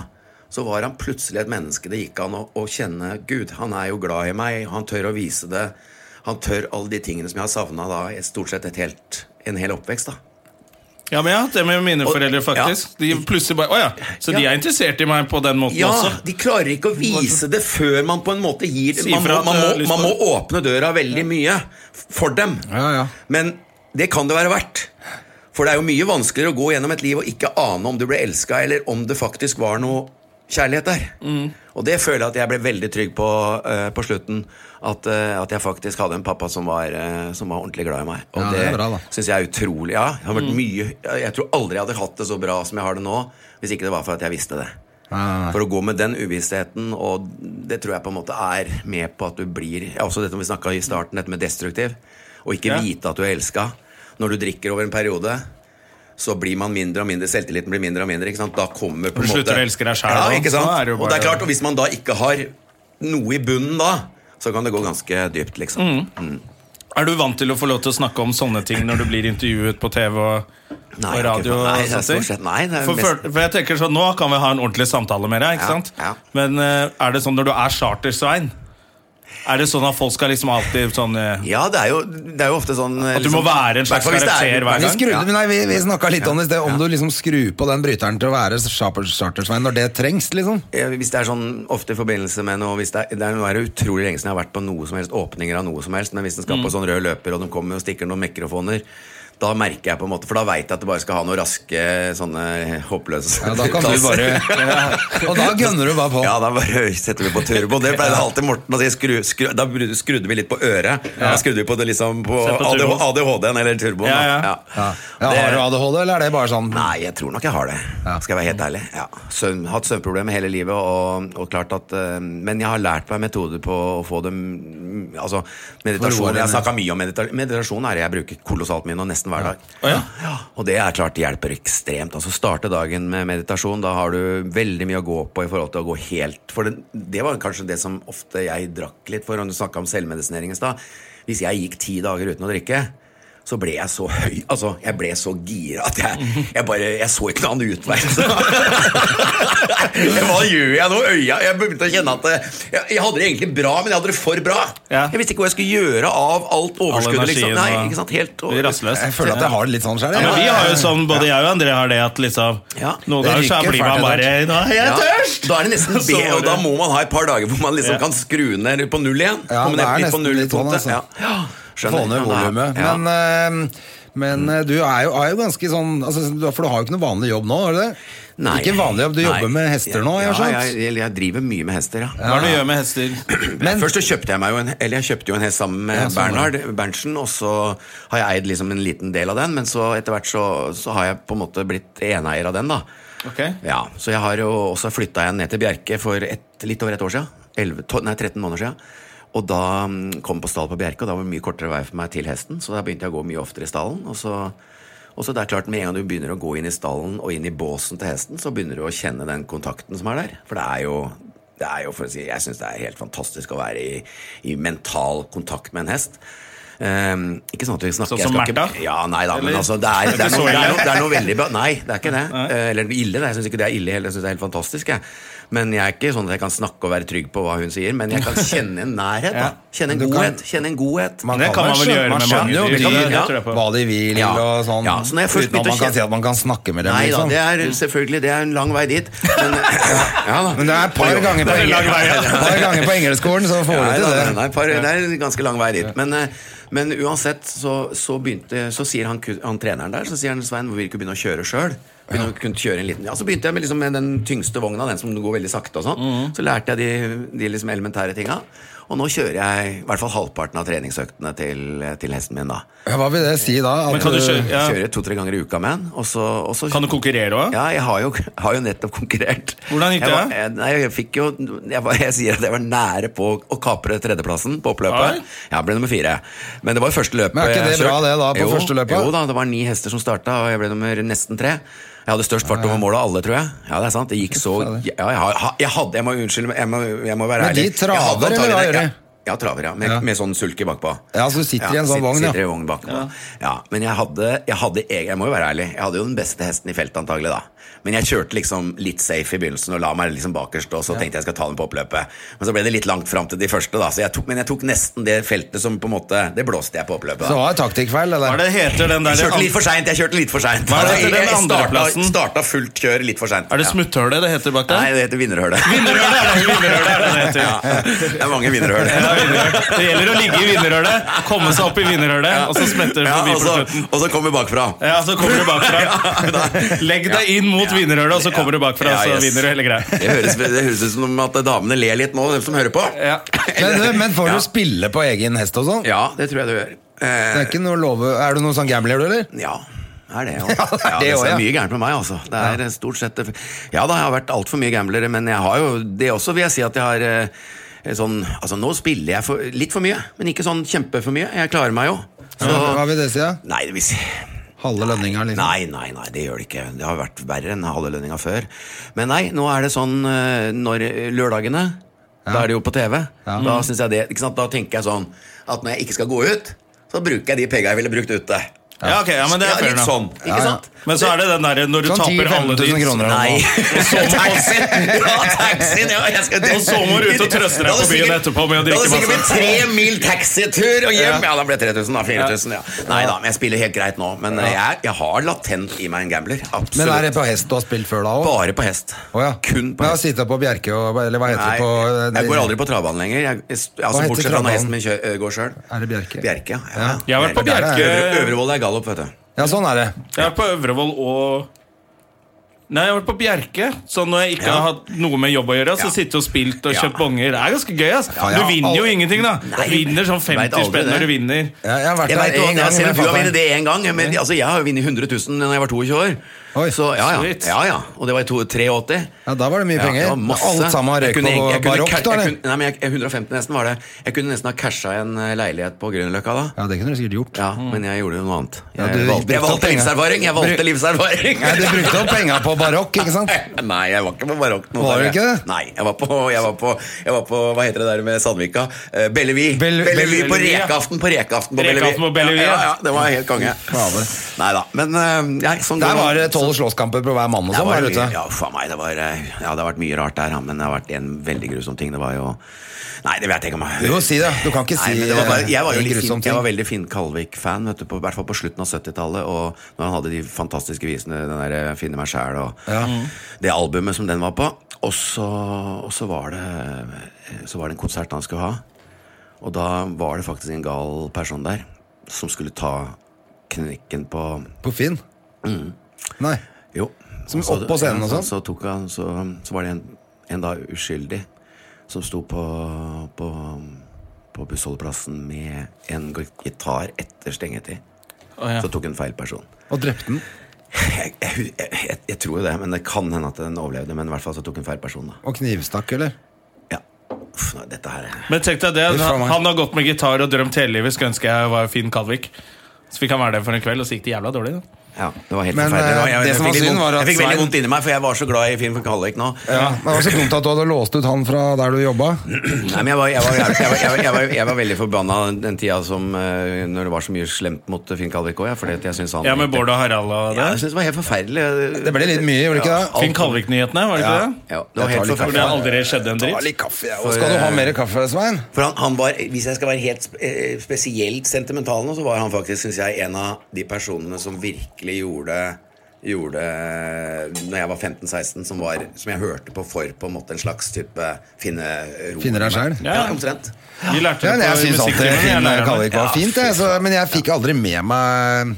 Speaker 3: så var han plutselig et menneske det gikk an å, å kjenne Gud. Han er jo glad i meg, han tør å vise det. Han tør alle de tingene som jeg har savna da, i stort sett et helt, en hel oppvekst. da.
Speaker 1: Ja, men jeg har hatt det med mine
Speaker 3: Og-
Speaker 1: foreldre, faktisk. De plutselig bare, Å ja, Så de
Speaker 3: Ja.
Speaker 1: er interessert i meg på den måten
Speaker 3: Ja,
Speaker 1: også?
Speaker 3: de klarer ikke å vise det før man på en måte gir det.
Speaker 1: Si
Speaker 3: Man må,
Speaker 1: fra at
Speaker 3: man
Speaker 1: jeg har
Speaker 3: må,
Speaker 1: lyst
Speaker 3: man
Speaker 1: på
Speaker 3: må åpne døra veldig mye for dem.
Speaker 2: Ja, ja.
Speaker 3: Men det kan det være verdt. For det er jo mye vanskeligere å gå gjennom et liv og ikke ane om du ble elska, eller om det faktisk var noe kjærlighet der. Og det føler jeg at jeg ble veldig trygg på eh, på slutten. At, eh, at jeg faktisk hadde en pappa som var, eh, som var ordentlig glad i meg. Og
Speaker 2: Ja, det er bra, da.
Speaker 3: syns jeg er utrolig. Ja, det har vært mye, jeg tror aldri jeg hadde hatt det så bra som jeg har det nå, hvis ikke det var for at jeg visste det.
Speaker 2: nei, nei.
Speaker 3: For å gå med den uvissheten, og det tror jeg på en måte er med på at du blir ja, Også dette vi snakka i starten, dette med destruktiv. Å ikke
Speaker 1: Ja.
Speaker 3: vite at du er elska. Når du drikker over en periode, så blir man mindre og mindre, selvtilliten blir mindre og mindre. ikke sant? Da kommer på
Speaker 1: Du
Speaker 3: en måte
Speaker 1: slutter å elske deg selv,
Speaker 3: Ja,
Speaker 1: da.
Speaker 3: ikke sant?
Speaker 1: Da er det jo
Speaker 3: Og det
Speaker 1: bare-
Speaker 3: er klart, og hvis man da ikke har noe i bunnen da, så kan det gå ganske dypt, liksom.
Speaker 1: Mm. Er du vant til å få lov til å snakke om sånne ting når du blir intervjuet på TV og,
Speaker 3: Nei,
Speaker 1: og
Speaker 3: jeg har ikke
Speaker 1: radio?
Speaker 3: fått- nei, det er
Speaker 1: og sånne
Speaker 3: stort
Speaker 1: ting?
Speaker 3: sett- nei, det er
Speaker 1: for,
Speaker 3: mest-
Speaker 1: for, for jeg tenker sånn, Nå kan vi ha en ordentlig samtale med deg.
Speaker 3: Ja,
Speaker 1: ikke sant?
Speaker 3: ja.
Speaker 1: Men eh, er det sånn når du er Charter-Svein? Er det sånn at folk skal liksom alltid sånn eh,
Speaker 3: Ja, det er jo, det er jo ofte sånn At
Speaker 1: du må være en slags karakter hver
Speaker 2: Vi,
Speaker 1: gang.
Speaker 2: skrudde, men nei, vi, vi snakka litt om det i sted, om du liksom skrur på den bryteren til å være charter- chartersvein når det trengs, liksom.
Speaker 3: Eh, Hvis det er sånn ofte i forbindelse med noe hvis det er, det er, Nå er det utrolig lenge siden jeg har vært på noe som helst åpninger av noe som helst, men hvis den skal på sånn rød løper, og de kommer og stikker noen mikrofoner Da merker jeg på en måte, for da veit jeg at det bare skal ha noen raske, sånne håpløse
Speaker 2: Ja, da kan du
Speaker 3: tasser.
Speaker 2: bare Og da gønner du bare på.
Speaker 3: Ja, da bare setter vi på turbo. Det pleide alltid Morten å si. Skru, skru, da bru- skrudde vi litt på øret. Da skrudde vi på det liksom på,
Speaker 1: Sett på
Speaker 3: ADH,
Speaker 1: turbo.
Speaker 3: ADHD-en eller turboen.
Speaker 1: Ja, ja.
Speaker 3: da.
Speaker 2: Ja. Ja, har du ADHD, eller er det bare sånn
Speaker 3: Nei, jeg tror nok jeg har det.
Speaker 2: Ja.
Speaker 3: Skal jeg være helt ærlig. Ja. Søvn, hatt søvnproblemer hele livet, og, og klart at eh, Men jeg har lært meg metoder på å få dem mm, Altså,
Speaker 2: Roa
Speaker 3: meditasjon
Speaker 2: deg
Speaker 3: Jeg har
Speaker 2: ned.
Speaker 3: snakka mye om medita meditasjon, er det jeg bruker kolossalt mye nå, nesten hver dag.
Speaker 1: Å, ja.
Speaker 3: Og det er klart det hjelper ekstremt. Altså Starte dagen med meditasjon, da har du veldig mye å gå på i forhold til å gå helt For det, det var kanskje det som ofte jeg drakk litt for, når du snakka om selvmedisinering i stad. Hvis jeg gikk ti dager uten å drikke så ble jeg så høy Altså, jeg ble så gira at jeg, jeg bare Jeg så ikke noen annen utvei. Så. Hva gjør jeg nå? Øya Jeg begynte å kjenne at det- jeg, jeg hadde det egentlig bra, men jeg hadde det for bra.
Speaker 1: Ja.
Speaker 3: Jeg visste ikke hva jeg skulle gjøre av alt overskuddet.
Speaker 1: energien
Speaker 3: Liksom. Nei,
Speaker 1: og-
Speaker 3: ikke sant? Helt
Speaker 1: Vi er
Speaker 3: altså,
Speaker 1: rastløse.
Speaker 2: Jeg føler at jeg har det litt sånn sjøl.
Speaker 1: Ja, men vi har jo sånn, Både jeg og André har det at liksom
Speaker 3: Ja.
Speaker 1: Noen
Speaker 2: Det
Speaker 1: ganger så
Speaker 2: ryker
Speaker 1: blir man
Speaker 2: fælt
Speaker 1: bare
Speaker 2: etter
Speaker 1: Nå er jeg
Speaker 3: Ja,
Speaker 1: tørst!
Speaker 3: Da er det nesten
Speaker 1: Så
Speaker 3: B,
Speaker 1: var
Speaker 3: og
Speaker 1: det-
Speaker 3: da må man ha et par dager hvor man liksom
Speaker 1: Ja.
Speaker 3: kan skru ned på null igjen.
Speaker 2: Ja,
Speaker 3: Komme
Speaker 2: det
Speaker 3: ned
Speaker 2: er
Speaker 3: litt på
Speaker 2: nesten
Speaker 3: null
Speaker 2: litt sånn,
Speaker 3: punktet.
Speaker 2: altså.
Speaker 3: Ja. Ja,
Speaker 2: Få ned volumet.
Speaker 3: Ja.
Speaker 2: Men, eh, men eh, du er jo, er jo ganske sånn altså, du- For du har jo ikke noe vanlig jobb nå? Har du det?
Speaker 3: Nei.
Speaker 2: Ikke vanlig jobb, du
Speaker 3: Nei.
Speaker 2: jobber med hester nå? Jeg
Speaker 3: ja,
Speaker 2: har skjønt.
Speaker 3: jeg, jeg, jeg driver mye med hester, ja.
Speaker 1: Hva er det du gjør med hester?
Speaker 2: Men-
Speaker 3: Først så kjøpte jeg meg jo en, eller jeg kjøpte jo en hest sammen med
Speaker 2: Ja, sånn var
Speaker 3: Bernhard Berntsen, og så har jeg eid liksom en liten del av den, men så etter hvert så, så har jeg på en måte blitt eneier av den, da.
Speaker 1: Ok.
Speaker 3: Ja, så jeg har jo også flytta igjen ned til Bjerke for et, litt over et år siden. 11, to- nei, 13 måneder siden. Og da mm, kom på stall på Bjerke, og da var det mye kortere vei for meg til hesten, så da begynte jeg å gå mye oftere i stallen. og så... Og så det er klart, Med en gang du begynner å gå inn i stallen og inn i båsen til hesten, så begynner du å kjenne den kontakten som er der. For det er jo, det er jo for å si, jeg syns det er helt fantastisk å være i, i mental kontakt med en hest. Ehm, ikke sånn at vi snakker
Speaker 1: Sånn som
Speaker 3: jeg skal
Speaker 1: Märtha?
Speaker 3: Ikke, ja, nei da, men
Speaker 1: Eller?
Speaker 3: altså det er, det, er
Speaker 1: Ikke så
Speaker 3: noe, det, er
Speaker 1: ille.
Speaker 3: noe, det er noe veldig bra Nei, det er ikke det. Eh, Eller ille. det, Jeg syns ikke det er ille, heller, jeg syns det er helt fantastisk. Jeg. Men jeg er ikke sånn at jeg kan snakke og være trygg på hva hun sier, men jeg kan kjenne en nærhet. Da. Kjenne en
Speaker 2: Du kan-
Speaker 3: godhet. Kjenne en godhet.
Speaker 1: Det kan
Speaker 2: jo
Speaker 1: man vel
Speaker 2: skjønne-
Speaker 1: gjøre
Speaker 2: man
Speaker 1: med
Speaker 2: skjønner
Speaker 1: mange
Speaker 2: jo
Speaker 1: dyr, det
Speaker 2: de-
Speaker 1: kan-
Speaker 2: ja,
Speaker 1: det tror jeg på.
Speaker 2: hva de vil
Speaker 3: Ja.
Speaker 2: og sånn.
Speaker 3: Ja, så når jeg først begynte å
Speaker 2: uten at man kan
Speaker 3: kjenne-
Speaker 2: si at man kan snakke med dem.
Speaker 3: Nei da,
Speaker 2: liksom.
Speaker 3: det er selvfølgelig Det er en lang vei dit. Men, ja, da.
Speaker 2: Men det er et par ganger
Speaker 1: Det
Speaker 2: på,
Speaker 1: er en lang
Speaker 2: engel-
Speaker 1: vei, ja.
Speaker 2: et par ganger på engelskskolen, så får du
Speaker 3: Nei,
Speaker 2: til
Speaker 3: da,
Speaker 2: det.
Speaker 3: nei, nei, par, det er en ganske lang vei dit. Men, eh, men uansett så, så begynte Så sier han, ku- han treneren der Så sier han Svein, hvorfor vil du ikke begynne å kjøre sjøl? Begynne å kunne kjøre en liten Ja, Så begynte jeg med, liksom, med den tyngste vogna, den som går veldig sakte og sånn. Så lærte jeg de, de liksom elementære tinga. Og nå kjører jeg i hvert fall halvparten av treningsøktene til, til hesten min, da.
Speaker 2: Ja, Hva vil det si da? At
Speaker 1: Men kan du
Speaker 2: du-
Speaker 1: kjøre, ja.
Speaker 3: Kjører to-tre ganger i uka med den. Og så, og så
Speaker 1: Kan du konkurrere også?
Speaker 3: Ja, jeg har jo, har jo nettopp konkurrert.
Speaker 1: Hvordan gikk det?
Speaker 3: Jeg, var- jeg, nei, jeg fikk jo jeg, var, jeg sier at jeg var nære på å kapre tredjeplassen på oppløpet.
Speaker 1: Oi.
Speaker 3: Jeg ble nummer fire. Men det var første løpet.
Speaker 2: Men er ikke det
Speaker 3: jeg
Speaker 2: bra
Speaker 3: kjørte.
Speaker 2: det da, på
Speaker 3: jo,
Speaker 2: første løpet?
Speaker 3: Jo da, det var ni hester som starta, og jeg ble nummer nesten tre. Jeg hadde størst fart over målet av alle, tror jeg. Ja, det er sant. Det gikk så Ja, jeg, har- jeg hadde Jeg må unnskylde, men jeg må, jeg må være
Speaker 2: Men de
Speaker 3: ærlig. Jeg hadde
Speaker 2: traver, eller hva
Speaker 3: antagelig-
Speaker 2: gjør de?
Speaker 3: Ja. Ja, traver, ja. Med,
Speaker 2: Ja.
Speaker 3: med sånn sulke bakpå.
Speaker 2: Ja, så du sitter i en sånn
Speaker 3: sit-
Speaker 2: vogn, ja.
Speaker 3: Sitter i vogn bakpå. Ja. men jeg hadde, jeg hadde egen, jeg må jo være ærlig, jeg hadde jo den beste hesten i feltet antagelig da. Men jeg kjørte liksom litt safe i begynnelsen og la meg liksom bakerst, og så tenkte jeg skal ta den på oppløpet. Men så ble det litt langt fram til de første da, så jeg tok, men jeg tok nesten det feltet som på en måte, det blåste jeg på oppløpet da.
Speaker 2: Så var det taktikkfeil,
Speaker 1: Hva er
Speaker 2: eller?
Speaker 1: det heter den der
Speaker 3: Jeg kjørte litt for sent, jeg kjørte litt for sent. Altså,
Speaker 1: Hva heter den
Speaker 3: Jeg starta-
Speaker 1: andreplassen?
Speaker 3: Starta fullt kjør litt for sent.
Speaker 1: Er det
Speaker 3: Ja.
Speaker 1: smutthullet det heter bak
Speaker 3: Nei,
Speaker 1: der?
Speaker 3: det heter vinnerhølet.
Speaker 1: Vinnerhullet er det, vinnerhullet er det det heter.
Speaker 3: Ja, det er mange vinnerhøl.
Speaker 1: Ja, vinnerhullet. Det gjelder å ligge i vinnerhullet, komme seg opp i vinnerhullet, og så smetter det
Speaker 3: Ja, altså. og
Speaker 1: forbi på
Speaker 3: så-
Speaker 1: slutten.
Speaker 3: Og så kommer bakfra.
Speaker 1: Ja, så kommer du bakfra. Legg deg inn mot vinnerhullet, og så kommer du bakfra,
Speaker 3: Ja,
Speaker 1: så
Speaker 3: yes.
Speaker 1: vinner du hele greia.
Speaker 3: Det høres, det høres ut som at damene ler litt nå, de som hører på.
Speaker 1: Ja.
Speaker 2: Men, du, men får
Speaker 3: Ja.
Speaker 2: du spille på egen hest og sånn?
Speaker 3: Ja, det tror jeg du gjør.
Speaker 2: Det
Speaker 3: Eh,
Speaker 2: er, ikke noe love... er du noen sånn gambler, du, eller?
Speaker 3: ja, det er det, ja.
Speaker 2: Ja, det er det
Speaker 3: så
Speaker 2: også, ja.
Speaker 3: mye gærent med meg, altså. Det er eh, stort sett Ja da, jeg har vært altfor mye gamblere, men jeg har jo det også, vil jeg si at jeg har eh, sånn Altså, nå spiller jeg for, litt for mye, men ikke sånn kjempe for mye. Jeg klarer meg jo. Så
Speaker 2: Hva vil det si? da?
Speaker 3: Nei, det vil si
Speaker 2: Halve lønninga, liksom?
Speaker 3: Nei, nei, nei, det gjør det ikke. Det har vært verre enn halve lønninga før. Men nei, nå er det sånn eh, når lørdagene Da er det jo på TV. Da synes jeg det, ikke sant? Da tenker jeg sånn at når jeg ikke skal gå ut, så bruker jeg de penga jeg ville brukt ute.
Speaker 1: Ja, ok, ja, men det er fair
Speaker 3: litt
Speaker 1: enough.
Speaker 3: sånn, ikke
Speaker 2: ja.
Speaker 3: sant?
Speaker 1: Men så er det den derre når du
Speaker 2: Sånn
Speaker 1: taper alle
Speaker 2: 10-15
Speaker 1: de
Speaker 2: 000 kroner.
Speaker 3: Nei. Taxi! Ja, taxien! Ja, jeg skal
Speaker 1: Og så må du ut og trøste deg
Speaker 3: Da hadde
Speaker 1: på byen
Speaker 3: sikkert-
Speaker 1: etterpå med å drikke
Speaker 3: Da hadde sikkert
Speaker 1: masse.
Speaker 3: blitt tre mil taxitur og hjem!
Speaker 1: Ja.
Speaker 3: Ja, da ble det 3000, da. 4000, ja. Nei da, men jeg spiller helt greit nå. Men eh, jeg, jeg har latent i meg en gambler. Absolutt.
Speaker 2: Men er det på hest du har spilt før da òg?
Speaker 3: Bare på hest. Kun på
Speaker 2: Men jeg har
Speaker 3: hest.
Speaker 2: sittet på Bjerke og Eller hva heter
Speaker 3: Nei,
Speaker 2: det på eh,
Speaker 3: jeg går aldri på travbanen lenger. Jeg, jeg, altså,
Speaker 2: heter
Speaker 3: bortsett fra når
Speaker 2: travbanen?
Speaker 3: hesten min kjø, øh, går sjøl.
Speaker 2: Er det Bjerke?
Speaker 3: Bjerke, ja.
Speaker 2: Ja.
Speaker 3: ja.
Speaker 1: Jeg har vært på
Speaker 3: Der er
Speaker 1: Bjerke-
Speaker 3: Øvre- Øvrevoll er gallop, vet du.
Speaker 2: Ja, sånn er det.
Speaker 1: Jeg har vært på Øvrevoll og Nei, jeg har vært på Bjerke. Så når jeg ikke
Speaker 3: Ja.
Speaker 1: har hatt noe med jobb å gjøre, så
Speaker 3: Ja.
Speaker 1: sitte og spilt og
Speaker 3: Ja.
Speaker 1: kjøpt bonger. Det er ganske gøy, ass.
Speaker 2: Ja, ja.
Speaker 1: Du vinner jo
Speaker 2: Aldri-
Speaker 1: ingenting, da.
Speaker 3: Nei,
Speaker 1: Du vinner sånn
Speaker 3: jeg vet
Speaker 1: 50
Speaker 3: aldri
Speaker 1: spenn
Speaker 3: det.
Speaker 1: når du vinner.
Speaker 2: Jeg, jeg har vært
Speaker 3: Jeg
Speaker 2: der
Speaker 3: vet
Speaker 2: én
Speaker 3: ikke,
Speaker 2: gang.
Speaker 3: jeg ser
Speaker 2: men
Speaker 3: at du har
Speaker 2: falt
Speaker 3: vunnet
Speaker 2: der.
Speaker 3: det én gang, men altså, jeg har jo vunnet 100 000 da jeg var 22 år.
Speaker 2: Oi.
Speaker 3: Så, ja, ja.
Speaker 1: Shit.
Speaker 3: ja, ja. Og det var i to- 83.
Speaker 2: Ja, da var det mye
Speaker 3: Ja,
Speaker 2: penger.
Speaker 3: det var masse.
Speaker 2: Alt sammen
Speaker 3: Jeg
Speaker 2: røyk
Speaker 3: kunne-
Speaker 2: på
Speaker 3: jeg kunne
Speaker 2: barokk,
Speaker 3: ca-
Speaker 2: da,
Speaker 3: jeg
Speaker 2: eller?
Speaker 3: kunne- Nei, men jeg, 115 nesten var det. Jeg kunne nesten ha casha en eh, leilighet på Grünerløkka da.
Speaker 2: Ja, det kunne du sikkert gjort.
Speaker 3: Ja, men jeg gjorde noe annet.
Speaker 2: Ja,
Speaker 3: Jeg,
Speaker 2: du
Speaker 3: valgte, jeg
Speaker 2: brukte
Speaker 3: valgte
Speaker 2: opp penger.
Speaker 3: livserfaring! Jeg
Speaker 2: Bruk-
Speaker 3: valgte livserfaring
Speaker 2: Nei, Du brukte opp penga på barokk, ikke sant?
Speaker 3: Nei, jeg var ikke på barokk. nå,
Speaker 2: Var du
Speaker 3: dere.
Speaker 2: ikke det?
Speaker 3: Nei, jeg var, på, jeg, var på, jeg var på Hva heter det der med Sandvika? Eh, Bellevi.
Speaker 2: Bell-
Speaker 3: Bellevi på
Speaker 1: Bellevi, ja.
Speaker 3: Rekaften på Rekaften på Bellevi.
Speaker 1: Rekaften på Bellevi,
Speaker 3: ja,
Speaker 1: ja.
Speaker 3: ja, ja, det var helt konge.
Speaker 2: Fader.
Speaker 3: Nei da. Men eh, nei, sånn
Speaker 2: Der
Speaker 3: går
Speaker 2: var det
Speaker 3: det.
Speaker 2: tolv slåsskamper på hver mann og
Speaker 3: Det
Speaker 2: sånn
Speaker 3: var mye,
Speaker 2: der ute.
Speaker 3: ja, faen meg, det var, eh, ja, det har vært mye rart der, ja, men det har vært en veldig grusom ting. Det var jo Nei, det vet jeg ikke om jeg
Speaker 2: Du må si det. Du kan ikke si
Speaker 3: Nei, men det var bare, jeg, var jo
Speaker 2: eh,
Speaker 3: litt
Speaker 2: grusom
Speaker 3: Finn, jeg var
Speaker 2: ting.
Speaker 3: veldig Finn Kalvik-fan, vet du, på, i hvert fall på slutten av 70-tallet. Og når han hadde de fantastiske visene, den der eh, 'Finne meg sjæl' og det albumet som den var på. Og så, og så, var det, eh, så var det en konsert han skulle ha. Og da var det faktisk en gal person der som skulle ta knekken på
Speaker 2: På Finn? Mm. Nei.
Speaker 3: Jo.
Speaker 2: Som
Speaker 3: Så-
Speaker 2: opp på scenen og
Speaker 3: ja,
Speaker 2: sånn?
Speaker 3: Så, tok han, så, så var det en, en da uskyldig som sto på, på, på bussholdeplassen med en gitar etter stengetid.
Speaker 1: Å, ja.
Speaker 3: Så tok en feil person.
Speaker 2: Og drepte den?
Speaker 3: Jeg, jeg, jeg, jeg tror jo det, men det kan hende at den overlevde. Men i hvert fall så tok en feil person, da.
Speaker 2: Og knivstakk, eller?
Speaker 3: Ja. Uff, nei, dette her er-
Speaker 1: Men tenk deg det,
Speaker 2: Uff, faen
Speaker 1: han,
Speaker 2: meg.
Speaker 1: han har gått med gitar og drømt hele livet. Skulle ønske jeg var Finn Kalvik. Så fikk han være det for en kveld, og så gikk det jævla dårlig. Da.
Speaker 3: ja, det var helt
Speaker 2: Men,
Speaker 3: forferdelig.
Speaker 2: eh,
Speaker 3: Jeg, jeg,
Speaker 2: det som
Speaker 3: fikk
Speaker 2: var
Speaker 3: litt
Speaker 2: synd
Speaker 3: vondt-
Speaker 2: var at
Speaker 3: jeg fikk veldig
Speaker 2: Svein-
Speaker 3: vondt inni meg, for jeg var så glad i Finn Kallik nå.
Speaker 2: Ja. Det var så dumt at du hadde låst ut han fra der du jobba.
Speaker 3: Nei, men jeg var, jeg var, jeg var, jeg var, jeg var, jeg var veldig forbanna den- den tida som, eh, når det var så mye slemt mot Finn Kalvik òg. Fordi at jeg synes han
Speaker 1: Ja, med Bård og Harald
Speaker 3: Ja,
Speaker 1: og det.
Speaker 2: altså,
Speaker 3: jeg synes det var helt forferdelig.
Speaker 2: Det ble litt mye, gjorde det ikke det?
Speaker 1: Finn Kalvik-nyhetene, var det ikke det?
Speaker 3: Ja, det var
Speaker 2: Jeg
Speaker 3: helt
Speaker 2: tar litt
Speaker 1: Hvor det
Speaker 3: forferdelig. eh,
Speaker 1: aldri skjedde en
Speaker 2: Ta
Speaker 1: dritt.
Speaker 2: litt kaffe, ja. Og skal du ha mer kaffe, Svein?
Speaker 3: For han, han var, Hvis jeg skal være helt sp- eh, spesielt sentimental nå, så var han faktisk synes jeg, en av de personene som virkelig gjorde Gjorde Når jeg var 15-16, som, var- som jeg hørte på for på en måte en slags type finne ro.
Speaker 2: Finner deg selv?
Speaker 3: Ja, omtrent.
Speaker 1: Vi lærte
Speaker 2: Ja,
Speaker 1: det
Speaker 2: men jeg
Speaker 1: på
Speaker 2: syns alltid
Speaker 1: musikktimen. jeg
Speaker 2: Finn
Speaker 1: lærer det.
Speaker 2: Kalvik var
Speaker 3: Ja,
Speaker 2: fint, jeg, så, men jeg fikk aldri med meg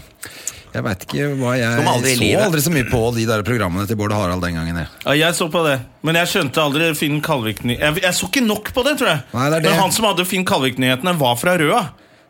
Speaker 2: Jeg veit ikke hva jeg
Speaker 3: Kom aldri i
Speaker 2: så
Speaker 3: livet.
Speaker 2: aldri så mye på de der programmene til Bård Harald den gangen. Jeg.
Speaker 1: Ja, jeg så på det, men jeg skjønte aldri Finn Kalvik-ny... Jeg, jeg så ikke nok på det, tror jeg.
Speaker 2: Nei, det er det.
Speaker 1: Men han som hadde Finn Kalvik-nyhetene, var fra Røa.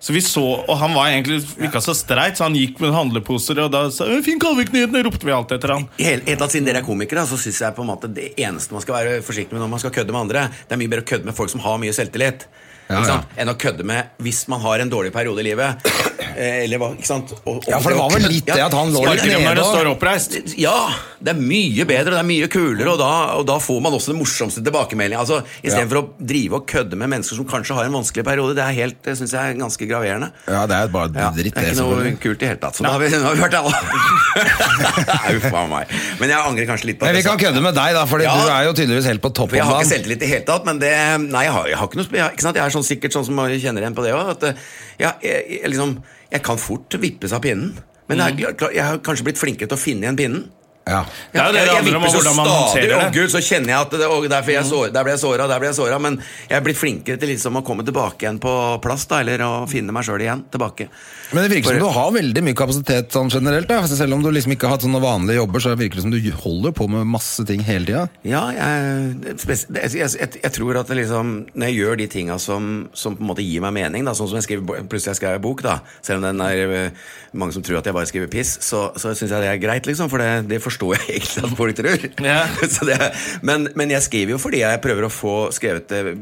Speaker 1: Så vi så, og Han var egentlig ikke så streit, så han gikk med handleposer, og da sa «Øh, Finn Kalvik-nyhetene ropte vi alt etter han.
Speaker 3: I hele- Helt tatt Siden dere er komikere, så synes jeg på en måte det eneste man skal være forsiktig med når man skal kødde med andre, det er mye bedre å kødde med folk som har mye selvtillit.
Speaker 2: Ja,
Speaker 3: ikke sant? Enn å kødde med hvis man har en dårlig periode i livet. Eh, Eller hva, ikke sant? Og- og-
Speaker 2: Ja, for det var vel litt det at han lå
Speaker 3: Ja,
Speaker 2: litt
Speaker 1: Sparker dem når
Speaker 2: nede
Speaker 1: det
Speaker 2: og-
Speaker 1: står oppreist.
Speaker 3: ja, det er mye bedre, det er mye kulere, og da, og da får man også den morsomste tilbakemeldingen. Altså, Istedenfor for å drive og kødde med mennesker som kanskje har en vanskelig periode. Det er helt, det synes jeg er ganske graverende.
Speaker 2: Ja, det er bare
Speaker 3: Ja,
Speaker 2: dritt,
Speaker 3: det er ikke
Speaker 2: det.
Speaker 3: noe
Speaker 2: selvfølgelig.
Speaker 3: kult i det hele tatt. Så da har vi, nå har vi hørt det alle. Uff a meg. Men jeg angrer kanskje litt på
Speaker 2: Men vi
Speaker 3: jeg
Speaker 2: kan
Speaker 3: sa-
Speaker 2: kødde med deg, da, Fordi
Speaker 3: Ja.
Speaker 2: du er jo tydeligvis helt på topp.
Speaker 3: For jeg
Speaker 2: om
Speaker 3: har ikke
Speaker 2: dagen.
Speaker 3: selvtillit i det hele tatt, men det Nei, jeg har, jeg har ikke noe sp- jeg, har- ikke sant? jeg er sånn, sikkert sånn som jeg kjenner igjen på det òg, at eh, jeg, jeg, jeg, liksom, jeg kan fort vippes av pinnen. Men jeg, er klar- jeg har kanskje blitt flinkere til å finne igjen pinnen.
Speaker 2: Ja.
Speaker 1: Det er jo det det
Speaker 3: jeg,
Speaker 1: handler om,
Speaker 3: vipper så
Speaker 1: hvordan man
Speaker 3: stadig,
Speaker 1: håndterer
Speaker 3: å
Speaker 1: det.
Speaker 3: gud, så kjenner jeg at det, og derfor jeg så, Der ble jeg såra, der ble jeg såra. Men jeg er blitt flinkere til liksom å komme tilbake igjen på plass, da, eller å finne meg sjøl igjen. Tilbake.
Speaker 2: Men det virker
Speaker 3: For-
Speaker 2: som du har veldig mye kapasitet sånn generelt. Da. Selv om du liksom ikke har hatt sånne vanlige jobber, så virker det som du holder på med masse ting hele tida.
Speaker 3: Ja, jeg, spes- det- jeg, jeg, jeg tror at det liksom Når jeg gjør de tinga som, som på en måte gir meg mening, da, sånn som jeg skriver, bo- plutselig jeg skrev bok, da selv om den er eh, mange som tror at jeg bare skriver piss, så, så syns jeg det er greit, liksom, for det, det forstår jeg egentlig at folk tror.
Speaker 1: Ja.
Speaker 3: Så det, men, men jeg skriver jo fordi jeg prøver å få skrevet det,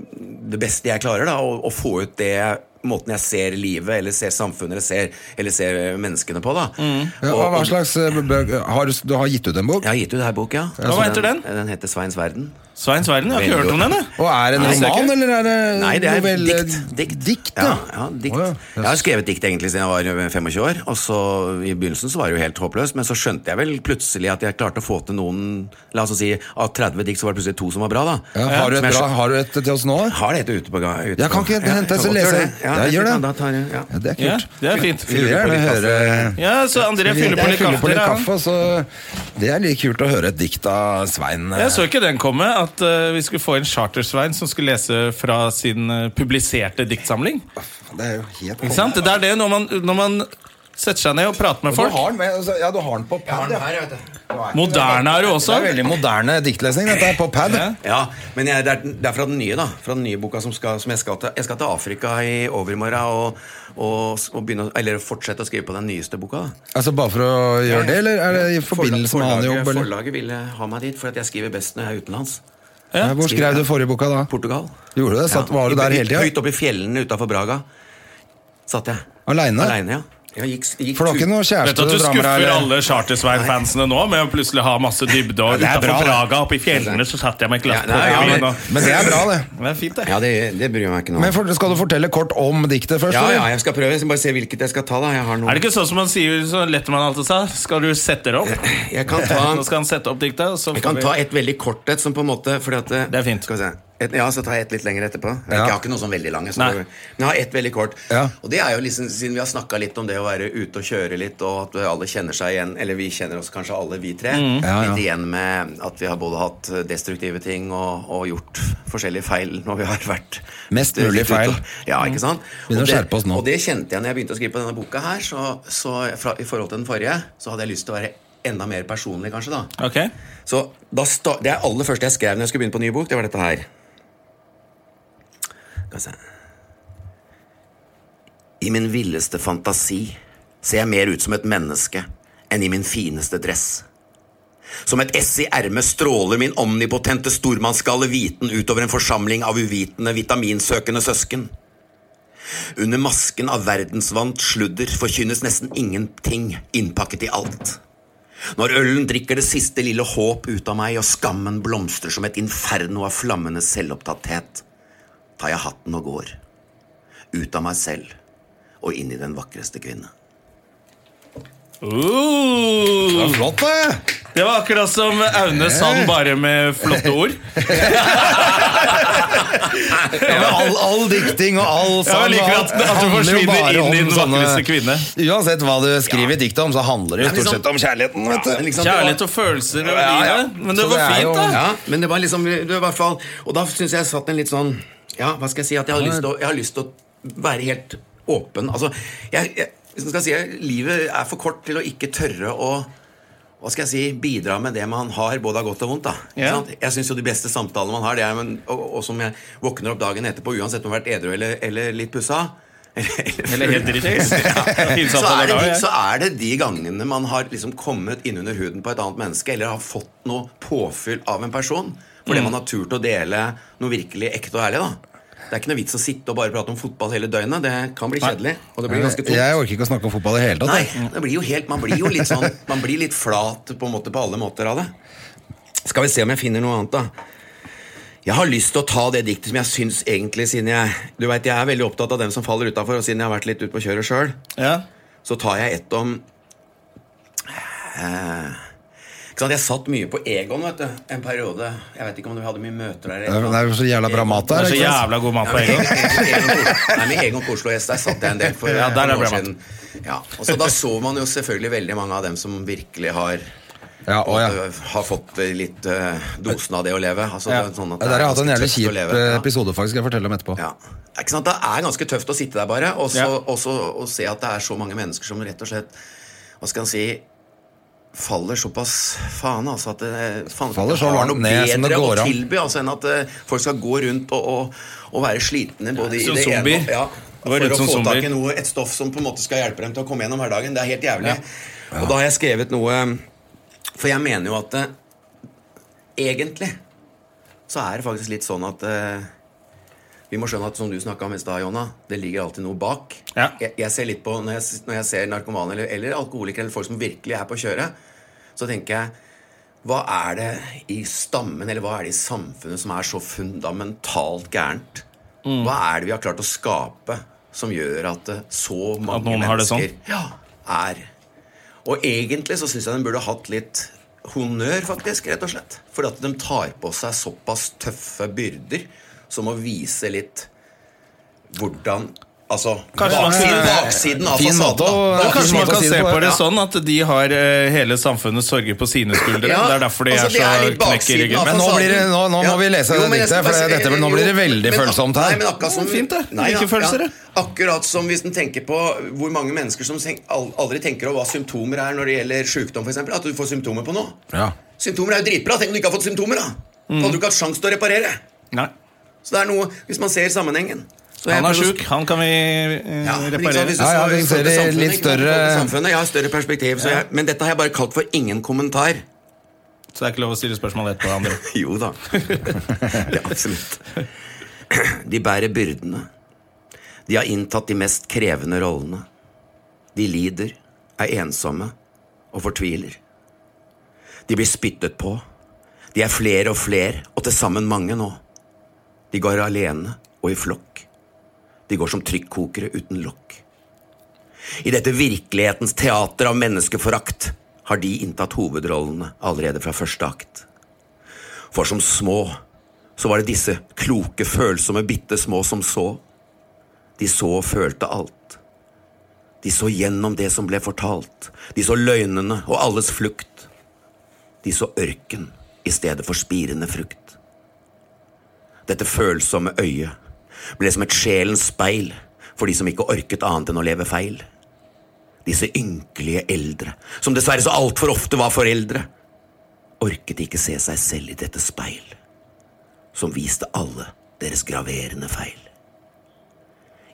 Speaker 3: det beste jeg klarer, da, og, og få ut det måten jeg ser livet, eller ser samfunnet, eller ser, eller ser menneskene på. da
Speaker 1: Mm.
Speaker 2: Ja,
Speaker 3: Og-
Speaker 2: og hva
Speaker 3: og-
Speaker 2: slags eh, bø- har du, du har gitt ut en bok?
Speaker 3: Jeg har gitt ut det her bok, ja. Altså,
Speaker 1: Hva heter den?
Speaker 3: Den heter Sveins verden.
Speaker 1: Sveins verden, jeg har ikke
Speaker 3: Veldig
Speaker 1: hørt om den. jeg.
Speaker 2: Og er det en
Speaker 3: Nei, det er
Speaker 2: roman,
Speaker 3: ikke-
Speaker 2: eller er det
Speaker 3: Nei, det er
Speaker 2: novelle-
Speaker 3: dikt.
Speaker 2: Dikt,
Speaker 3: ja.
Speaker 2: ja.
Speaker 3: ja, dikt.
Speaker 2: Å, ja.
Speaker 3: Jeg har skrevet dikt egentlig siden jeg var 25 år. Og så I begynnelsen så var det jo helt håpløst, men så skjønte jeg vel plutselig at jeg klarte å få til noen La oss si av 30 dikt så var det plutselig to som var bra, da.
Speaker 2: Ja, har,
Speaker 3: Som
Speaker 2: du et
Speaker 3: jeg
Speaker 2: bra,
Speaker 3: skjø-
Speaker 2: har du et til oss nå?
Speaker 3: Har det et ute på gang?
Speaker 2: Jeg kan ikke hente en som leser.
Speaker 3: Ja,
Speaker 2: Ja, gjør
Speaker 3: gjør
Speaker 2: det.
Speaker 3: Da tar jeg, ja.
Speaker 2: Ja, det er
Speaker 1: Ja,
Speaker 2: kult.
Speaker 1: det er fint.
Speaker 2: Vi vil gjerne høre
Speaker 1: Ja, så André
Speaker 2: Vi-
Speaker 1: fyller på
Speaker 2: jeg
Speaker 1: litt
Speaker 2: fyller på
Speaker 1: kaffe.
Speaker 2: litt
Speaker 1: ja.
Speaker 2: kaffe, og så Det er litt kult å høre et dikt av Svein. eh.
Speaker 1: Jeg så ikke den komme, at eh, vi skulle få en Chartersvein som skulle lese fra sin eh, publiserte diktsamling.
Speaker 2: Det er jo helt
Speaker 1: Ikke sant? Det er det når man, når man Setter seg ned og prater med
Speaker 2: Du
Speaker 1: folk.
Speaker 2: har den med, altså, ja, du har den på pad, ja.
Speaker 1: Moderne er du
Speaker 2: Det
Speaker 1: også.
Speaker 2: er veldig moderne diktlesning, dette er på pad.
Speaker 1: Ja.
Speaker 3: Ja, men jeg, det, er, det er fra den nye, da. Fra den nye boka som, skal, som jeg skal til. Jeg skal til Afrika i overmorgen og, og, og begynne, å- eller fortsette å skrive på den nyeste boka. da.
Speaker 2: Altså Bare for å gjøre det, eller er det i forbindelse med annen
Speaker 3: Forlaget-
Speaker 2: jobb? Eller?
Speaker 3: Forlaget ville ha meg dit, for at jeg skriver best når jeg er utenlands.
Speaker 2: Ja, Hvor skrev du forrige boka da?
Speaker 3: Portugal.
Speaker 2: Gjorde du det? Satt, var du
Speaker 3: i-
Speaker 2: der hele
Speaker 3: Høyt
Speaker 2: tida?
Speaker 3: oppe i fjellene utafor Braga satt jeg.
Speaker 2: Aleine?
Speaker 3: Aleine, ja. Jeg gikk, gikk
Speaker 2: For det var ikke noe
Speaker 1: Vet du
Speaker 2: kjæreste
Speaker 1: at du
Speaker 2: du drar med
Speaker 1: skuffer
Speaker 2: deg? eller?
Speaker 1: alle Chartersveien-fansene nå med å plutselig ha masse dybde, og
Speaker 2: Ja, det er
Speaker 1: utenfor
Speaker 2: bra, det.
Speaker 1: Praga oppe i fjellene så satt jeg med et glass
Speaker 3: Ja,
Speaker 1: på
Speaker 3: nei, ja,
Speaker 1: byen,
Speaker 3: men-
Speaker 1: og-
Speaker 2: Men det er bra, det.
Speaker 1: Det er fint, det.
Speaker 3: Ja, det, det bryr jeg meg ikke noe
Speaker 2: Men for, skal du fortelle kort om diktet først?
Speaker 3: Ja,
Speaker 2: eller?
Speaker 3: ja, jeg skal prøve. Jeg skal bare se hvilket jeg skal ta. da Jeg har noe
Speaker 1: Er det ikke sånn som man sier så lett man alltid sa? Skal du sette det opp?
Speaker 3: Jeg kan ta,
Speaker 1: Nå skal han sette opp diktet. og Så
Speaker 3: jeg kan
Speaker 1: får vi-
Speaker 3: ta et veldig kort et, som på en måte fordi at,
Speaker 1: Det er fint.
Speaker 3: Skal vi se. Et, ja, så tar jeg et litt lenger etterpå. Jeg,
Speaker 2: Ja.
Speaker 3: jeg har ikke noe sånn veldig lange. Så
Speaker 1: Nei.
Speaker 3: men jeg har et veldig kort.
Speaker 2: Ja.
Speaker 3: Og det er jo liksom, Siden vi har snakka litt om det å være ute og kjøre litt, og at alle kjenner seg igjen, eller vi kjenner oss kanskje alle, vi tre,
Speaker 1: Mm.
Speaker 2: Ja, ja.
Speaker 3: litt igjen med at vi har både hatt destruktive ting og, og gjort forskjellige feil når vi har vært
Speaker 2: Mest mulig
Speaker 3: litt ute og-
Speaker 2: feil.
Speaker 3: Ja, ikke sant?
Speaker 2: Begynner
Speaker 3: Og
Speaker 2: å
Speaker 3: det-
Speaker 2: skjerpe oss nå.
Speaker 3: Og det kjente jeg når jeg begynte å skrive på denne boka her, så, så fra, i forhold til den forrige, så hadde jeg lyst til å være enda mer personlig, kanskje, da.
Speaker 1: Ok.
Speaker 3: Så da sta Det er aller første jeg skrev når jeg skulle begynne på ny bok, det var dette her. Skal vi se I min villeste fantasi ser jeg mer ut som et menneske enn i min fineste dress. Som et ess i ermet stråler min omnipotente stormannsgale viten utover en forsamling av uvitende, vitaminsøkende søsken. Under masken av verdensvant sludder forkynnes nesten ingenting innpakket i alt. Når ølen drikker det siste lille håp ut av meg, og skammen blomstrer som et inferno av flammende selvopptatthet, tar jeg hatten og går. Ut av meg selv og inn i den vakreste kvinne.
Speaker 2: Det var
Speaker 1: Uh,
Speaker 2: flott, det!
Speaker 1: det var akkurat som Aune Sand, bare med flotte ord.
Speaker 2: Ja, men all, all dikting og all
Speaker 1: Ja, men liker at- at du forsvinner inn i den vakreste kvinne.
Speaker 2: Uansett hva du skriver i diktet om, så handler det jo
Speaker 3: men
Speaker 2: stort
Speaker 3: sånn-
Speaker 2: sett om kjærligheten. vet du
Speaker 1: Kjærlighet og følelser og
Speaker 2: Ja, ja.
Speaker 1: livet. Men det
Speaker 2: Så
Speaker 1: var
Speaker 2: det er
Speaker 1: fint,
Speaker 2: jo-
Speaker 1: da.
Speaker 3: Ja, men det var liksom det var i hvert fall, Og da syns jeg jeg satt en litt sånn Ja, hva skal jeg si? At jeg har lyst til å, jeg har lyst til å være helt åpen. Altså, jeg, jeg, hvis man skal si, det, livet er for kort til å ikke tørre å hva skal jeg si, bidra med det man har, både av godt og vondt. da Ikke
Speaker 1: Ja.
Speaker 3: sant? Jeg syns jo de beste samtalene man har, det er men, og, og som jeg våkner opp dagen etterpå, uansett om jeg har vært edru eller, eller litt pussa eller,
Speaker 1: Eller helt dritings.
Speaker 3: så er, det, de- så er det de gangene man har liksom kommet innunder huden på et annet menneske, eller har fått noe påfyll av en person, fordi man har turt å dele noe virkelig ekte og ærlig. da Det er ikke noe vits å sitte og bare prate om fotball hele døgnet. Det kan bli kjedelig. Og det blir ganske tungt.
Speaker 2: Jeg orker ikke å snakke om fotball i det hele tatt.
Speaker 3: Nei, det blir jo helt, man blir jo litt sånn Man blir litt flat på en måte på alle måter av det. Skal vi se om jeg finner noe annet, da. Jeg har lyst til å ta det diktet som jeg syns egentlig, siden jeg Du vet, jeg er veldig opptatt av dem som faller utafor, og siden jeg har vært litt ute på kjøret sjøl,
Speaker 1: Ja.
Speaker 3: så tar jeg et om eh, ikke sant? Jeg satt mye på Egon vet du, en periode. Jeg vet ikke om vi hadde mye møter der.
Speaker 2: Det er- det er jo så jævla bra mat
Speaker 1: Det
Speaker 2: der.
Speaker 1: er så
Speaker 2: ikke sant?
Speaker 1: jævla god mat på en gang.
Speaker 3: Nei, med Egon Koslo S, der satt jeg en del for
Speaker 1: Ja, der er
Speaker 3: noen år
Speaker 1: bra mat.
Speaker 3: siden. Ja, og så Da så man jo selvfølgelig veldig mange av dem som virkelig har
Speaker 2: Ja, å, ja.
Speaker 3: øh, Har fått eh, litt eh, dosen av det å leve. Altså,
Speaker 2: Ja.
Speaker 3: det er sånn at det
Speaker 2: Der har
Speaker 3: er
Speaker 2: jeg hatt en
Speaker 3: ganske
Speaker 2: jævlig
Speaker 3: tøft å
Speaker 2: kjip
Speaker 3: leve.
Speaker 2: eh,
Speaker 3: Ja.
Speaker 2: episode, faktisk. skal Jeg fortelle om etterpå.
Speaker 3: Ja. Ikke sant? Det er ganske tøft å sitte der bare og så,
Speaker 1: Ja.
Speaker 3: og så og se at det er så mange mennesker som rett og slett Hva skal en si faller såpass faen altså at det faen,
Speaker 2: Faller så
Speaker 3: har
Speaker 2: langt ned som det
Speaker 3: bedre
Speaker 2: går
Speaker 3: å
Speaker 2: an.
Speaker 3: tilby altså, enn at eh, folk skal gå rundt og, og, og være slitne både
Speaker 1: Som
Speaker 3: i det
Speaker 1: zombier.
Speaker 3: ene og- ja,
Speaker 1: Det var
Speaker 3: For
Speaker 1: litt
Speaker 3: å
Speaker 1: som
Speaker 3: få
Speaker 1: zombier.
Speaker 3: tak i noe, et stoff som på en måte skal hjelpe dem til å komme gjennom hverdagen. Det er helt jævlig. Og da har jeg skrevet noe For jeg mener jo at eh, egentlig så er det faktisk litt sånn at eh, vi må skjønne at som du snakka om i stad, Jonna, det ligger alltid noe bak.
Speaker 1: Ja.
Speaker 3: Jeg, jeg ser litt på, Når jeg, s- når jeg ser narkomane eller, eller alkoholikere eller folk som virkelig er på kjøret, så tenker jeg hva er det i stammen eller hva er det i samfunnet som er så fundamentalt gærent?
Speaker 1: Mm.
Speaker 3: Hva er det vi har klart å skape som gjør at eh, så mange
Speaker 1: noen har det
Speaker 3: mennesker
Speaker 1: sånn?
Speaker 3: ja, er Og egentlig så syns jeg den burde hatt litt honnør, faktisk, rett og slett. Fordi at de tar på seg såpass tøffe byrder som å vise litt hvordan Altså,
Speaker 1: Kanskje man
Speaker 3: baksiden,
Speaker 1: kunne-
Speaker 3: baksiden av
Speaker 2: Fin måte
Speaker 3: fasaden.
Speaker 2: å-
Speaker 3: da.
Speaker 1: Men kanskje
Speaker 2: fin
Speaker 1: man
Speaker 2: måte å
Speaker 1: kan
Speaker 2: si det
Speaker 1: se
Speaker 2: på,
Speaker 1: på det
Speaker 2: ja.
Speaker 1: sånn at de har eh, hele samfunnets sorger på sine skuldre.
Speaker 3: Ja,
Speaker 1: Det er derfor de
Speaker 3: altså, det er
Speaker 1: er så
Speaker 3: litt
Speaker 1: knekk i
Speaker 3: baksiden altså. av
Speaker 1: ryggen.
Speaker 2: Men nå
Speaker 3: fasaden.
Speaker 2: blir det- nå- nå må vi lese
Speaker 3: Jo, men
Speaker 2: det
Speaker 3: jeg
Speaker 2: diktet,
Speaker 3: skal bare
Speaker 2: for
Speaker 3: si-
Speaker 2: dette blir- nå blir det
Speaker 3: jo,
Speaker 2: veldig
Speaker 3: men ak-
Speaker 2: følsomt her.
Speaker 3: Nei, men akkurat som,
Speaker 1: Det er fint, det.
Speaker 3: Nei,
Speaker 1: Like
Speaker 3: ja,
Speaker 1: følelser, det.
Speaker 3: ja. Akkurat som hvis en tenker på hvor mange mennesker som sen- al- aldri tenker over hva symptomer er når det gjelder sykdom, f.eks. At du får symptomer på noe.
Speaker 2: Ja.
Speaker 3: Symptomer er jo dritbra. Tenk om du ikke har fått symptomer, da. Da
Speaker 2: Mm.
Speaker 3: Hadde du ikke hatt sjanse til å reparere.
Speaker 1: Nei.
Speaker 3: Så det er noe, hvis man ser sammenhengen Så jeg
Speaker 1: Han er
Speaker 3: prøver å-
Speaker 1: sjuk, han kan vi eh,
Speaker 3: Ja, liksom, men ikke sant,
Speaker 1: reparere.
Speaker 3: hvis du
Speaker 2: Ja, ja,
Speaker 3: skal-
Speaker 2: vi
Speaker 3: hvis du
Speaker 2: ser
Speaker 3: skal
Speaker 2: i
Speaker 3: til
Speaker 2: litt
Speaker 3: samfunnet, ikke sant,
Speaker 2: større-
Speaker 3: i forhold til samfunnet. Jeg har større perspektiv, så jeg, men dette har jeg bare kalt for ingen kommentar.
Speaker 1: Så det er ikke lov å stille spørsmål etterpå. André.
Speaker 3: Jo da. ja, absolutt. De bærer byrdene. De har inntatt de mest krevende rollene. De lider, er ensomme og fortviler. De blir spyttet på. De er flere og flere, og til sammen mange nå. De går alene og i flokk. De går som trykkokere uten lokk. I dette virkelighetens teater av menneskeforakt har de inntatt hovedrollene allerede fra første akt. For som små, så var det disse kloke, følsomme, bitte små som så. De så og følte alt. De så gjennom det som ble fortalt. De så løgnene og alles flukt. De så ørken i stedet for spirende frukt. Dette følsomme øyet ble som et sjelens speil for de som ikke orket annet enn å leve feil. Disse ynkelige eldre, som dessverre så altfor ofte var foreldre orket ikke se seg selv i dette speil, som viste alle deres graverende feil.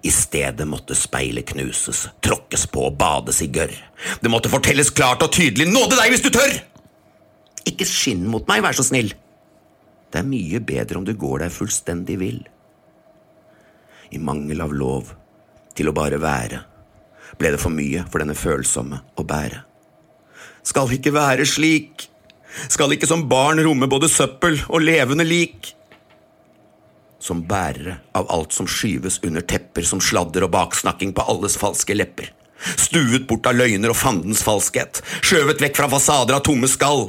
Speaker 3: I stedet måtte speilet knuses, tråkkes på og bades i gørr. Det måtte fortelles klart og tydelig, nåde deg hvis du tør! Ikke skinn mot meg, vær så snill. Det er mye bedre om du går deg fullstendig vill. I mangel av lov til å bare være, ble det for mye for denne følsomme å bære. Skal ikke være slik, skal ikke som barn romme både søppel og levende lik. Som bærere av alt som skyves under tepper som sladder og baksnakking på alles falske lepper. Stuet bort av løgner og fandens falskhet, skjøvet vekk fra fasader av tomme skall.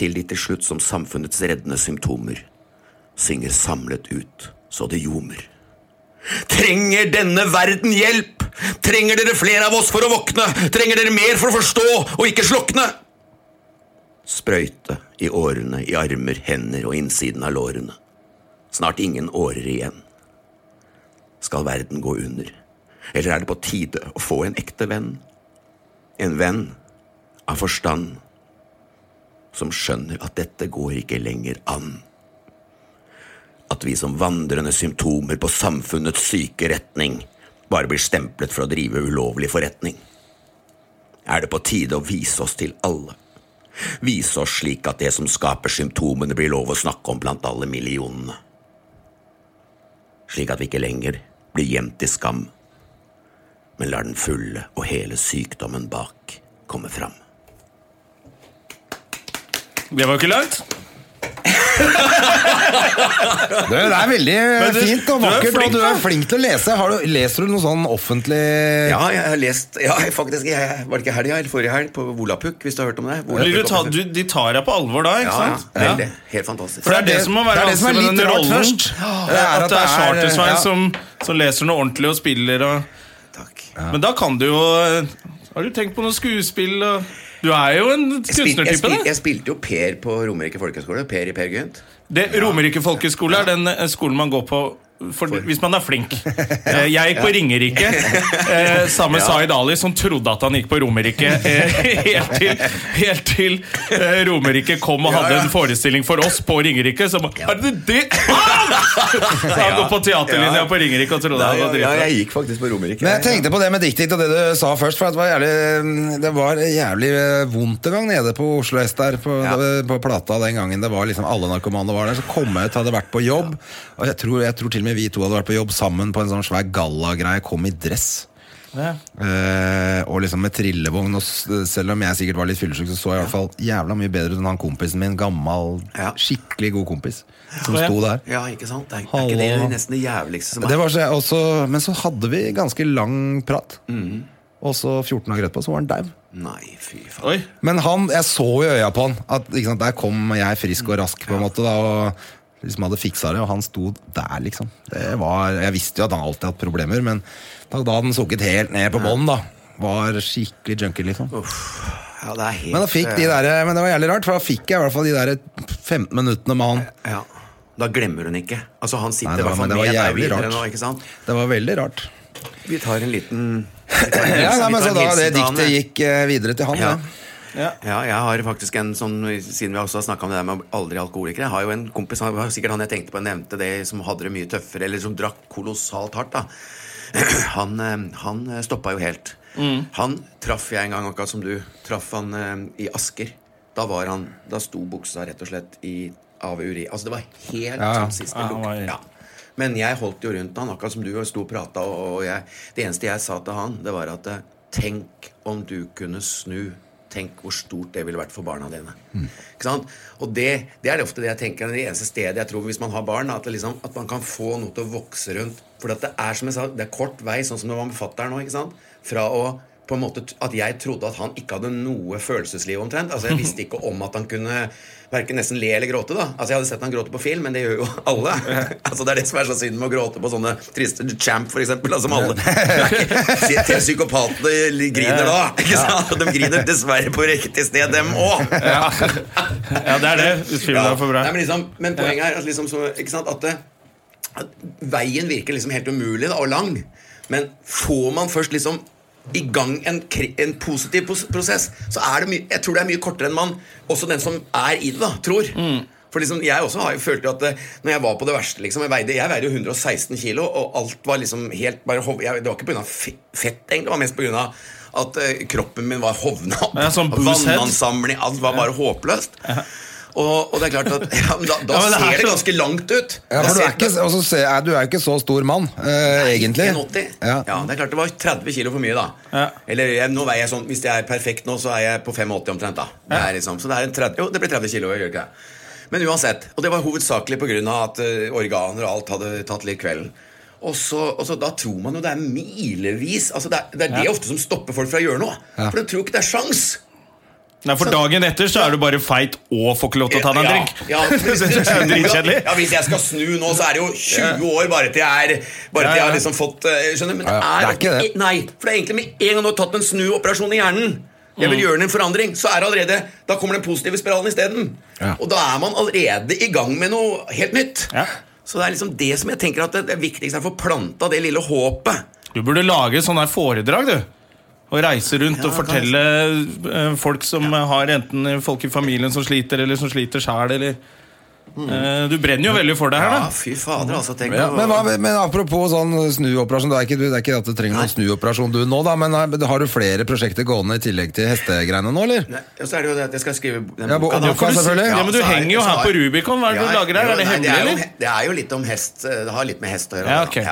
Speaker 3: Til de til slutt som samfunnets reddende symptomer synger samlet ut så det ljomer. Trenger denne verden hjelp? Trenger dere flere av oss for å våkne? Trenger dere mer for å forstå og ikke slukne? sprøyte i årene, i armer, hender og innsiden av lårene. Snart ingen årer igjen. Skal verden gå under, eller er det på tide å få en ekte venn? En venn av forstand, som skjønner at dette går ikke lenger an. At vi som vandrende symptomer på samfunnets syke retning bare blir stemplet for å drive ulovlig forretning. Er det på tide å vise oss til alle? Vise oss slik at det som skaper symptomene, blir lov å snakke om blant alle millionene. Slik at vi ikke lenger blir gjemt i skam, men lar den fulle og hele sykdommen bak komme fram.
Speaker 1: Det var jo ikke langt.
Speaker 2: Du, det er veldig eh,
Speaker 1: Men du-
Speaker 2: fint og
Speaker 1: du er
Speaker 2: vakkert,
Speaker 1: flink,
Speaker 2: og du
Speaker 1: da.
Speaker 2: er flink til å lese. Har du, leser du noe sånn offentlig
Speaker 3: Ja, jeg har lest Ja, faktisk, jeg var det ikke helga eller forrige helg på Volapuk, hvis du har hørt om det?
Speaker 1: Blir du ta, du, de tar deg på alvor da, ikke
Speaker 3: ja, ja,
Speaker 1: sant?
Speaker 3: veldig. Helt fantastisk.
Speaker 1: For det er det som må være
Speaker 2: Det er det som er
Speaker 1: vanskelig med
Speaker 2: litt
Speaker 1: den
Speaker 2: rart
Speaker 1: rollen.
Speaker 2: først.
Speaker 1: Det er at det er Chartersveien
Speaker 2: ja.
Speaker 1: som, som leser noe ordentlig og spiller og
Speaker 3: Takk.
Speaker 1: Men da kan du jo eh, Har du tenkt på noe skuespill og Du er jo en
Speaker 3: Jeg, spil, jeg,
Speaker 1: kunstnertype,
Speaker 3: spil,
Speaker 1: da.
Speaker 3: jeg spilte jo Per på Romerike folkehøgskole. Per i Per Gynt.
Speaker 1: Det Romerike folkeskole er den eh, skolen man går på for, hvis man er flink. Eh, Jeg gikk på Ringerike eh, sammen med Zaid Ali, som trodde at han gikk på Romerike. eh, Helt til, helt til eh, Romerike kom og hadde en forestilling for oss på Ringerike. Så ba- er det det? Ah! Så han går på teaterlinja på Ringerike og trodde han var
Speaker 3: ja,
Speaker 1: dritbra.
Speaker 3: jeg gikk faktisk på Romerike.
Speaker 2: Men jeg tenkte på det med diktdikt og det du sa først, for det var jævlig, mm, det var jævlig eh, vondt en gang nede på Oslo S der, på, på plata den gangen det var liksom alle narkomane var der, så kom jeg ut, hadde vært på jobb, og jeg tror, jeg tror til og med vi to hadde vært på jobb sammen på en sånn svær galla-greie, kom i dress.
Speaker 1: Ja.
Speaker 2: Eh, og liksom med trillevogn, og s- selv om jeg sikkert var litt fyllesyk, så så jeg i hvert fall jævla mye bedre ut enn han kompisen min, gammel,
Speaker 3: Ja.
Speaker 2: skikkelig god kompis, som
Speaker 1: Ja.
Speaker 2: sto der.
Speaker 3: Ja, ikke sant? Det er, er ikke
Speaker 2: Hallo.
Speaker 3: det nesten det jævligste som er?
Speaker 2: Det var så, og så- men så hadde vi ganske lang prat.
Speaker 3: Mhm.
Speaker 2: Og så 14 dager etterpå så var han daud.
Speaker 3: Nei, fy faen.
Speaker 1: Oi.
Speaker 2: Men han, jeg så i øya på han at ikke sant, der kom jeg frisk og rask, på en måte. Da, og liksom hadde fiksa det, og han sto der, liksom. Det var, jeg visste jo at han alltid hadde hatt problemer, men da, da hadde han sunket helt ned på bånn, da. Var skikkelig junkie, liksom.
Speaker 3: Ja, det er helt,
Speaker 2: Men, da fikk de der, men det var jævlig rart, for da fikk jeg i hvert fall de der 15 minuttene med han.
Speaker 3: eh, ja. Da glemmer hun ikke. Altså, han sitter
Speaker 2: Nei,
Speaker 3: i
Speaker 2: det
Speaker 3: hvert
Speaker 2: var,
Speaker 3: fall
Speaker 2: men det var
Speaker 3: med deg
Speaker 2: jævlig
Speaker 3: videre
Speaker 2: rart.
Speaker 3: nå, ikke sant?
Speaker 2: Det var veldig rart.
Speaker 3: Vi tar en liten
Speaker 2: Ja, nei, men så da det diktet
Speaker 3: gikk
Speaker 2: gikk eh, videre til han,
Speaker 3: Ja.
Speaker 2: det.
Speaker 3: Ja, jeg har faktisk en sånn Siden vi også har snakket om det der med aldri alkoholikere Jeg har jo en kompis, han var sikkert han jeg tenkte på Nevnte det, som hadde det mye tøffere Eller som drakk kolossalt hardt da Han, eh, han stoppa jo helt Han traff jeg en gang Akkurat som du, traff han eh, i Asker Da var han, da sto buksa rett og slett I av uri, altså det var helt
Speaker 2: ja.
Speaker 3: Som siste
Speaker 1: Ja, han
Speaker 3: lukk
Speaker 1: var-
Speaker 3: ja. Men jeg holdt jo rundt han, akkurat som du og sto og prata. Og og jeg, det eneste jeg sa til han, det var at eh, tenk om du kunne snu. Tenk hvor stort det ville vært for barna dine.
Speaker 1: Mm.
Speaker 3: Ikke sant? Og det, det er ofte det jeg tenker det eneste stedet jeg tror hvis man har barn, at, det liksom, at man kan få noe til å vokse rundt. For det er som jeg sa, det er kort vei, sånn som det var med fatter'n nå. ikke sant? Fra å på en måte t- at jeg trodde at han ikke hadde noe følelsesliv omtrent. Altså Jeg visste ikke om at han kunne hverken nesten le eller gråte. da Altså Jeg hadde sett han gråte på film, men det gjør jo alle. Altså Det er det som er så synd med å gråte på sånne triste Champ, for eksempel. da, Som alle Det er ikke- se Til psykopatene griner da. Ikke sant? De griner dessverre på riktig sted, dem òg.
Speaker 1: Ja. ja, det er det. Hvis filmen er for bra.
Speaker 3: Nei, men, liksom, men poenget er at, liksom, så, ikke sant, at, det, at veien virker liksom helt umulig da, og lang. Men får man først liksom i gang en, kri- en positiv pos- prosess, så er det mye, jeg tror det er mye kortere enn man, også den som er i det, da, tror.
Speaker 1: Mm.
Speaker 3: For liksom, Jeg også har, jo- følte jo at eh, når jeg var på det verste liksom, Jeg veide, jeg veide jo 116 kilo, og alt var liksom helt bare hov, jeg, Det var ikke pga. fett, egentlig, det var mest pga. at eh, kroppen min var hovna opp.
Speaker 1: Ja, sånn booze head.
Speaker 3: Vannansamling, alt var bare håpløst. Og, og det er klart at ja, men Da, da
Speaker 1: Ja, men det er
Speaker 3: ser det
Speaker 1: så-
Speaker 3: ganske langt ut.
Speaker 2: Ja,
Speaker 3: Da
Speaker 2: for du
Speaker 3: ser-
Speaker 2: er ikke, og så ser jeg- du er jo ikke så stor mann, eh, egentlig.
Speaker 3: 1,80. Ja.
Speaker 2: Ja.
Speaker 3: det er klart det var 30 kilo for mye, da.
Speaker 1: Ja.
Speaker 3: Eller jeg, nå veier jeg sånn Hvis jeg er perfekt nå, så er jeg på 85 omtrent, da. Det er liksom, så det er en 30, jo, det blir 30 kilo. Gjør ikke det. Men uansett. Og det var hovedsakelig pga. at eh, organer og alt hadde tatt litt kvelden. Og så, og så Da tror man jo det er milevis altså Det er det, er det ofte som stopper folk fra å gjøre noe. For de tror ikke det er sjans'.
Speaker 1: Nei, For dagen etter så er du bare feit og får ikke lov til å ta deg en drink.
Speaker 3: Ja, ja.
Speaker 1: Så det er jo dritkjedelig.
Speaker 3: Ja, hvis jeg skal snu nå, så er det jo 20 år bare til jeg er Bare til
Speaker 1: Ja,
Speaker 3: jeg har
Speaker 1: ja.
Speaker 3: liksom fått eh, Skjønner? Men det
Speaker 2: Ja,
Speaker 3: er,
Speaker 2: ja. Det er ikke det.
Speaker 3: Nei, for det er egentlig med en gang du har tatt en snuoperasjon i hjernen jeg vil gjøre den en forandring, så er det allerede Da kommer den positive spiralen isteden.
Speaker 2: Ja.
Speaker 3: Og da er man allerede i gang med noe helt nytt.
Speaker 1: Ja.
Speaker 3: Så det er liksom det som jeg tenker at det, det viktigste er å få planta det lille håpet.
Speaker 1: Du burde lage sånne her foredrag, du. Og reise rundt
Speaker 3: Ja,
Speaker 1: og
Speaker 3: kan-
Speaker 1: fortelle eh, folk som eh, har enten folk i familien som sliter, eller som sliter sjæl, eller Eh, Du brenner jo veldig for det her,
Speaker 3: Ja,
Speaker 1: da.
Speaker 3: fy fader, altså. Tenk
Speaker 2: Ja,
Speaker 3: å-
Speaker 2: men, hva, men apropos sånn snuoperasjon, det er ikke, du- det er ikke at du trenger noen snuoperasjon du nå, da, men har har du flere prosjekter gående i tillegg til hestegreiene nå, eller?
Speaker 3: Nei, Og så er det jo det at jeg skal skrive den
Speaker 2: Ja, bo-
Speaker 3: boka. da.
Speaker 2: boka,
Speaker 3: For du-
Speaker 2: selvfølgelig.
Speaker 1: Ja, men
Speaker 3: så
Speaker 1: du
Speaker 3: er-
Speaker 1: henger jo
Speaker 3: så
Speaker 1: her
Speaker 3: har-
Speaker 1: på Rubicon. Hva er det du lager her?
Speaker 3: jo,
Speaker 1: Er det
Speaker 3: nei,
Speaker 1: hemmelig,
Speaker 3: er jo-
Speaker 1: eller?
Speaker 3: Det er jo litt om hest. eh, Det har litt med hest å gjøre. da.
Speaker 1: Ja, ok.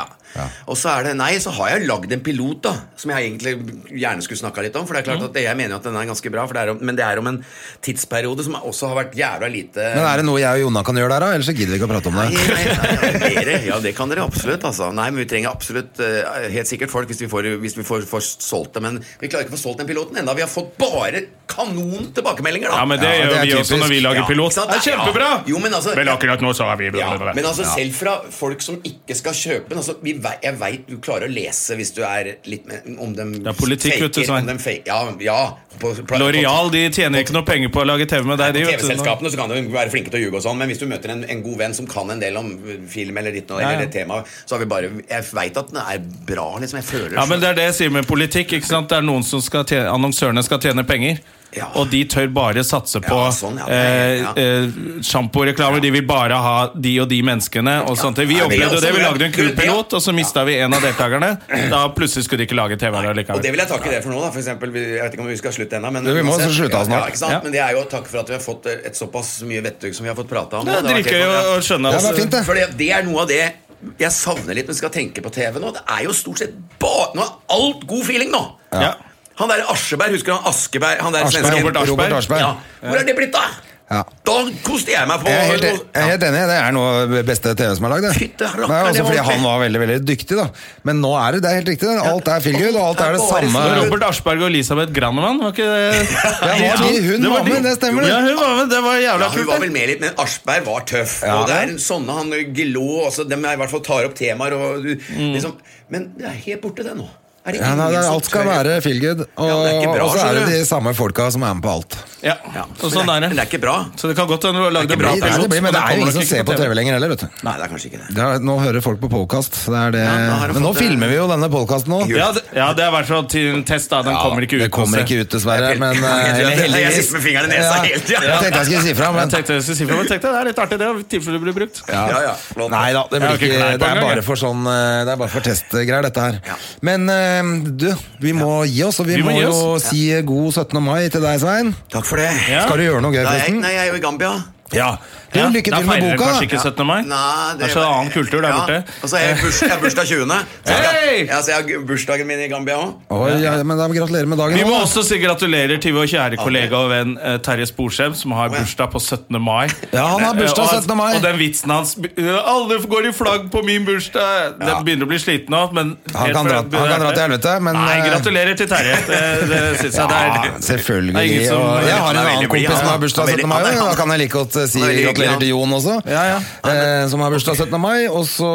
Speaker 3: Og så er det, nei, så har jeg lagd en pilot, da, som jeg egentlig gjerne skulle snakka litt om. For det
Speaker 1: Mm.
Speaker 3: er klart at jeg mener at den er ganske bra, for det er om, men det er om en tidsperiode som også har vært jævla lite
Speaker 2: Men er det noe jeg og Jonna kan gjøre der, da? Ellers så gidder vi ikke å prate om
Speaker 3: Nei,
Speaker 2: det.
Speaker 3: nei, nei, nei, dere, ja, det kan dere absolutt. Altså. Nei, men Vi trenger absolutt eh, helt sikkert folk hvis vi, får, hvis vi får, får solgt det. Men vi klarer ikke å få solgt den piloten enda Vi har fått bare kanon tilbakemeldinger. da
Speaker 1: Ja, men det
Speaker 2: Ja,
Speaker 1: gjør
Speaker 2: det er
Speaker 1: vi også
Speaker 2: typisk.
Speaker 1: når vi
Speaker 3: Ja,
Speaker 1: lager
Speaker 3: ikke
Speaker 1: pilot.
Speaker 3: sant?
Speaker 1: Det er kjempebra!
Speaker 3: Ja. Jo, men altså-
Speaker 1: akkurat nå så har vi
Speaker 3: Ja, men altså selv fra folk som ikke skal kjøpe den altså, vi vei, Jeg veit du klarer å lese hvis du er litt med, Om dem
Speaker 1: Det er politikk, vet du, Svein.
Speaker 3: om dem fake- Ja, ja på- på-
Speaker 1: L'Oreal de tjener ikke noe penger på å lage TV med
Speaker 3: på
Speaker 1: deg. de, vet du.
Speaker 3: TV-selskapene så kan de være flinke til å ljuge, og sånn men hvis du møter en, en god venn som kan en del om film eller ditt noe,
Speaker 1: Ja, ja.
Speaker 3: eller det temaet, så har vi bare Jeg veit at den er bra, liksom. Jeg føler
Speaker 1: Ja, men Det er det jeg sier med politikk. ikke sant? Det er noen som skal tjene, Annonsørene skal tjene penger.
Speaker 3: Ja.
Speaker 1: Og de tør bare satse på
Speaker 3: sånn, ja, det er- ja.
Speaker 1: eh, eh, sjamporeklamer. De vil bare ha de og de menneskene. og sånt. Vi
Speaker 3: Ja, det er
Speaker 1: opplevde jo
Speaker 3: også
Speaker 1: det. Vi
Speaker 3: bra.
Speaker 1: lagde en kul pilot, og så mista vi en av deltakerne. Da plutselig skulle de ikke lage TV her
Speaker 3: Og det
Speaker 1: likevel.
Speaker 3: vil jeg takke dere for nå. da For eksempel, vi- Jeg vet ikke om vi skal slutte ennå. Men,
Speaker 2: Jo, vi må
Speaker 3: uansett-
Speaker 2: også slutte av snart.
Speaker 3: Ja, ikke sant?
Speaker 1: Ja.
Speaker 3: Men det er jo takk for at vi har fått et såpass mye vettug som vi har fått prata om.
Speaker 1: Det
Speaker 3: og
Speaker 1: er
Speaker 3: det har vært
Speaker 1: dritgøy
Speaker 3: helt
Speaker 1: å
Speaker 3: fantastisk.
Speaker 1: å skjønne.
Speaker 2: Ja, det er fint, det.
Speaker 3: For det, det er noe av det jeg savner litt når vi skal tenke på TV nå. Det er jo stort sett bare Nå er alt god feeling nå!
Speaker 1: Ja.
Speaker 3: Han der Asjeberg, husker du han Askeberg? Han der
Speaker 2: Aschberg,
Speaker 3: svensken?
Speaker 2: Robert Aschberg.
Speaker 3: Ja. Hvor er det blitt av?
Speaker 2: Ja.
Speaker 3: Da koste jeg meg på
Speaker 2: Jeg er helt, jeg er helt enig, det er noe av det beste TV som er lagd. det.
Speaker 3: Fytte rakker,
Speaker 2: Nei,
Speaker 3: det
Speaker 2: Også
Speaker 3: var
Speaker 2: fordi
Speaker 3: ordentlig.
Speaker 2: han var veldig veldig dyktig, da. Men nå er det, det er helt riktig. det. Alt er feel good, og alt er det
Speaker 3: Bare
Speaker 2: samme.
Speaker 3: så
Speaker 1: Men Robert Aschberg og Elisabeth Granemann, var ikke det
Speaker 2: Ja, var de- hun
Speaker 1: Det
Speaker 2: var
Speaker 1: de.
Speaker 2: med, det stemmer det.
Speaker 1: Ja, hun var med, det var
Speaker 3: Ja,
Speaker 1: jævla
Speaker 3: hun
Speaker 1: kult.
Speaker 3: var vel med litt, men Aschberg var tøff.
Speaker 2: Ja.
Speaker 3: og det er sånne han glå også, De er i hvert fall tar opp temaer og du, liksom Men det er helt borte, det nå. Er det
Speaker 2: Ja,
Speaker 3: ingen
Speaker 2: nei, det, er-
Speaker 3: som
Speaker 2: alt skal
Speaker 3: tør-
Speaker 2: være feel good, og,
Speaker 3: Ja, det er ikke bra,
Speaker 2: og så er det
Speaker 3: skjønner du.
Speaker 2: de samme folka som er med på alt.
Speaker 1: Ja.
Speaker 3: Ja,
Speaker 1: Og sånn
Speaker 3: men det.
Speaker 1: er
Speaker 3: Men det
Speaker 1: det.
Speaker 3: er ikke bra.
Speaker 1: Så det kan godt hende du har lagd en
Speaker 3: Det er
Speaker 1: bra
Speaker 3: ikke bra,
Speaker 1: pilot.
Speaker 2: Nei, det blir,
Speaker 1: men
Speaker 2: men
Speaker 1: den
Speaker 2: det er jo
Speaker 1: kommer
Speaker 2: ingen
Speaker 1: nok
Speaker 2: som
Speaker 1: ikke
Speaker 2: ser på TV lenger heller, vet du.
Speaker 3: Nei, det er kanskje ikke det.
Speaker 2: Det er, nå hører folk på podkast. Det er det.
Speaker 3: Ja, da har de
Speaker 2: men nå
Speaker 3: fått det.
Speaker 2: filmer vi jo denne podkasten nå.
Speaker 1: Ja, det, ja, det er i hvert fall til en test. da Den kommer ikke ut.
Speaker 2: Det kommer ikke ut, dessverre. Men eh,
Speaker 3: Jeg sitter med
Speaker 2: heldigvis.
Speaker 3: fingeren i nesa hele tiden.
Speaker 2: Jeg tenkte jeg skulle si fra,
Speaker 1: Jeg
Speaker 2: men
Speaker 1: tenkte, jeg skulle si for meg, jeg tenkte, det er litt artig, det, i tilfelle det blir brukt.
Speaker 3: Ja, ja, flott.
Speaker 2: Nei da, det,
Speaker 1: Jeg har
Speaker 2: blir
Speaker 1: ikke
Speaker 2: ikke,
Speaker 1: klær på
Speaker 2: det er
Speaker 1: engang,
Speaker 2: bare
Speaker 1: jeg.
Speaker 2: for sånn eh, Det er bare for testgreier, dette her. Men eh, du, vi må gi oss, og vi,
Speaker 1: Vi må
Speaker 2: må,
Speaker 1: gi
Speaker 2: jo
Speaker 1: oss.
Speaker 2: si god 17. mai til deg, Svein.
Speaker 3: Takk for det.
Speaker 1: Ja.
Speaker 2: Skal du gjøre noe gøy,
Speaker 3: Nei, jeg-
Speaker 2: forresten?
Speaker 3: nei, jeg er jo i Gambia.
Speaker 2: Ja. Du,
Speaker 1: Ja,
Speaker 2: lykke
Speaker 1: da
Speaker 2: til med
Speaker 1: feirer dere
Speaker 2: boka.
Speaker 1: Kanskje
Speaker 2: da.
Speaker 1: ikke 17. mai?
Speaker 3: Nei,
Speaker 1: det er en annen kultur der
Speaker 3: ja.
Speaker 1: borte.
Speaker 3: Og så er jeg burs, jeg har bursdag 20. Så jeg,
Speaker 1: Hey!
Speaker 3: ja, så jeg har bursdagen min i Gambia òg.
Speaker 2: Oi, ja, men da Gratulerer med dagen.
Speaker 1: Vi må
Speaker 2: da.
Speaker 1: også si gratulerer til vår kjære kollega og venn eh, Terje Sporsem, som har bursdag på 17. mai.
Speaker 2: Ja, han har bursdag
Speaker 1: Eh, og-
Speaker 2: 17. mai.
Speaker 1: Og den vitsen hans eh, 'Alle går i flagg på min bursdag', den begynner å bli sliten av. Men
Speaker 2: Han
Speaker 1: helt
Speaker 2: kan
Speaker 1: fra-
Speaker 2: dra, han kan dra til helvete, men
Speaker 1: Nei,
Speaker 2: eh,
Speaker 1: gratulerer til Terje. Det, det syns jeg det
Speaker 2: ja,
Speaker 1: er Det er
Speaker 2: selvfølgelig.
Speaker 1: ingen som-
Speaker 2: Og jeg har
Speaker 3: Han
Speaker 2: en
Speaker 3: er
Speaker 2: annen
Speaker 3: veldig blid,
Speaker 2: kompis
Speaker 3: han.
Speaker 2: som har
Speaker 3: Han
Speaker 2: bursdag
Speaker 3: er veldig-
Speaker 2: 17. mai.
Speaker 3: han er-
Speaker 2: og Da kan jeg like godt eh, si
Speaker 3: Han er veldig hyggelig,
Speaker 2: gratulerer
Speaker 3: han.
Speaker 2: til Jon også,
Speaker 1: Ja, ja.
Speaker 2: eh, som har bursdag 17. mai. Og så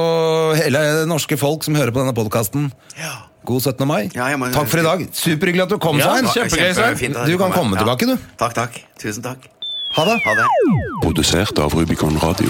Speaker 2: hele det norske folk som hører på denne podkasten. God 17. mai.
Speaker 3: Ja, jeg må-
Speaker 2: Takk for i dag. Superhyggelig at du kom,
Speaker 1: Ja,
Speaker 2: Svein.
Speaker 1: kjempe- Kjempegøy, Svein.
Speaker 3: Kjempefint at
Speaker 2: Du
Speaker 3: dere kom,
Speaker 2: kan komme
Speaker 3: ja.
Speaker 2: tilbake, du.
Speaker 3: Takk, takk. Tusen takk.
Speaker 2: Ha det.
Speaker 3: Ha det.
Speaker 4: Produsert av Rubicon Radio.